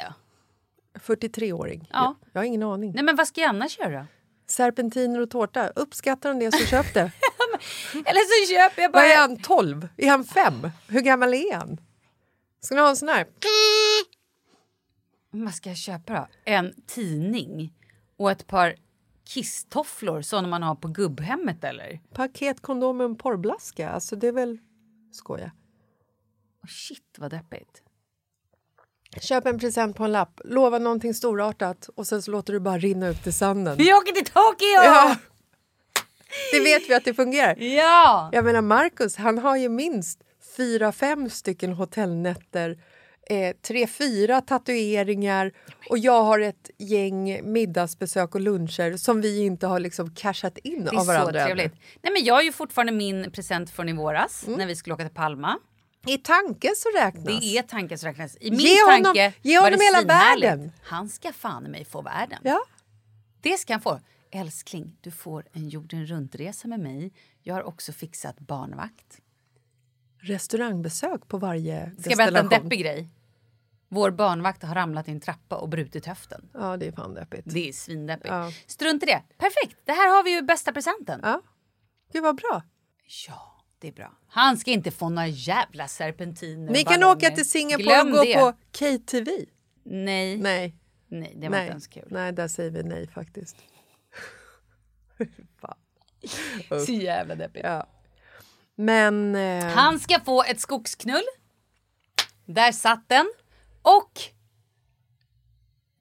Speaker 3: 43-åring.
Speaker 1: Ja.
Speaker 3: Jag har ingen aning.
Speaker 1: Nej men vad ska jag annars göra?
Speaker 3: Serpentiner och tårta. Uppskattar han det så köp det.
Speaker 1: Eller så köper jag bara...
Speaker 3: Vad är han, 12? Är han 5? Hur gammal är han? Ska ni ha en sån här?
Speaker 1: Vad ska jag köpa då? En tidning och ett par kisstofflor sådana man har på gubbhemmet eller?
Speaker 3: Paketkondom och en porrblaska. Alltså det är väl... Skoja.
Speaker 1: Oh, shit vad deppigt.
Speaker 3: Köp en present på en lapp, lova någonting storartat och sen så låter du bara rinna ut i sanden.
Speaker 1: Vi åker till Tokyo! Ja.
Speaker 3: Det vet vi att det fungerar.
Speaker 1: Ja.
Speaker 3: Jag menar Marcus, han har ju minst fyra, fem stycken hotellnätter eh, tre, fyra tatueringar och jag har ett gäng middagsbesök och luncher som vi inte har liksom cashat in
Speaker 1: Det
Speaker 3: av
Speaker 1: är så
Speaker 3: varandra.
Speaker 1: trevligt. Nej, men jag har ju fortfarande min present från i våras
Speaker 3: Mm.
Speaker 1: när vi skulle åka till Palma.
Speaker 3: I tanken så räknas.
Speaker 1: Det är tanken som räknas. I min
Speaker 3: Ge honom-
Speaker 1: tanke
Speaker 3: ge
Speaker 1: var
Speaker 3: honom
Speaker 1: det
Speaker 3: hela
Speaker 1: svinhärligt.
Speaker 3: världen.
Speaker 1: Han ska fan i mig få världen.
Speaker 3: Ja.
Speaker 1: Det ska han få. Älskling, du får en jorden runt-resa med mig. Jag har också fixat barnvakt.
Speaker 3: Restaurangbesök på varje
Speaker 1: Ska jag berätta en
Speaker 3: destination.
Speaker 1: deppig grej? Vår barnvakt har ramlat i en trappa och brutit höften.
Speaker 3: Ja, det är fan deppigt.
Speaker 1: Det är svindeppigt.
Speaker 3: Ja.
Speaker 1: Strunt i det. Perfekt! Det här har vi ju bästa presenten.
Speaker 3: Ja. Gud, vad bra.
Speaker 1: Ja, det är bra. Han ska inte få några jävla serpentiner.
Speaker 3: Ni
Speaker 1: och
Speaker 3: kan
Speaker 1: ballonger.
Speaker 3: åka till Singapore
Speaker 1: Glöm
Speaker 3: och gå
Speaker 1: det.
Speaker 3: på KTV.
Speaker 1: Nej.
Speaker 3: Nej.
Speaker 1: Nej, det var
Speaker 3: nej.
Speaker 1: inte ens kul.
Speaker 3: Nej, där säger vi nej faktiskt.
Speaker 1: Så jävla deppigt.
Speaker 3: Ja. Men... Eh,
Speaker 1: Han ska få ett skogsknull. Där satt den. Och...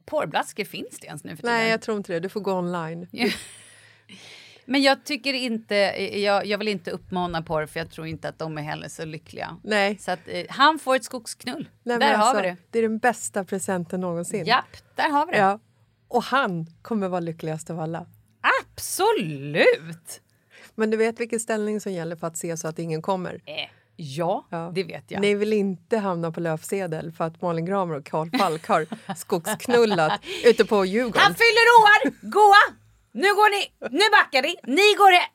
Speaker 1: Porrblaskor finns det ens nu för tiden?
Speaker 3: Nej, jag tror inte det. Du får gå online.
Speaker 1: Men jag tycker inte... Jag, jag vill inte uppmana porr för jag tror inte att de är heller så lyckliga.
Speaker 3: Nej.
Speaker 1: Så att, eh, han får ett skogsknull.
Speaker 3: Nej, men
Speaker 1: där har
Speaker 3: alltså,
Speaker 1: vi det.
Speaker 3: Det är den bästa presenten någonsin.
Speaker 1: Japp, där har vi det.
Speaker 3: Ja. Och han kommer vara lyckligast av alla.
Speaker 1: Absolut!
Speaker 3: Men du vet vilken ställning som gäller för att se så att ingen kommer?
Speaker 1: Eh, ja, Eh, det vet jag.
Speaker 3: Ni vill inte hamna på löpsedel för att Malin Gramer och Karl Falk har [laughs] skogsknullat ute på Djurgården.
Speaker 1: Han fyller år! Goa! Nu går ni, nu backar ni, ni går he-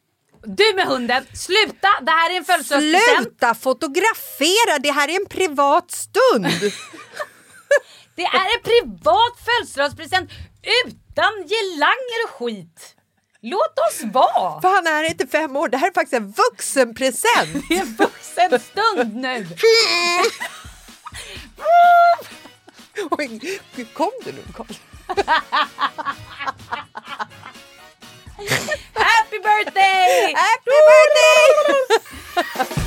Speaker 1: Du med hunden, sluta! Det här är en födelsedagspresent.
Speaker 3: Sluta fotografera! Det här är en
Speaker 1: [laughs]
Speaker 3: privat stund!
Speaker 1: Det är en privat födelsedagspresent utan gelang eller skit. Låt oss vara!
Speaker 3: För han är inte fem år, det här är faktiskt en
Speaker 1: [laughs]
Speaker 3: vuxenpresent!
Speaker 1: Det är en vuxenstund nu.
Speaker 3: Oj, gud, Kom du nu, Karl?
Speaker 1: Happy
Speaker 3: [laughs]
Speaker 1: birthday!
Speaker 3: Happy birthday!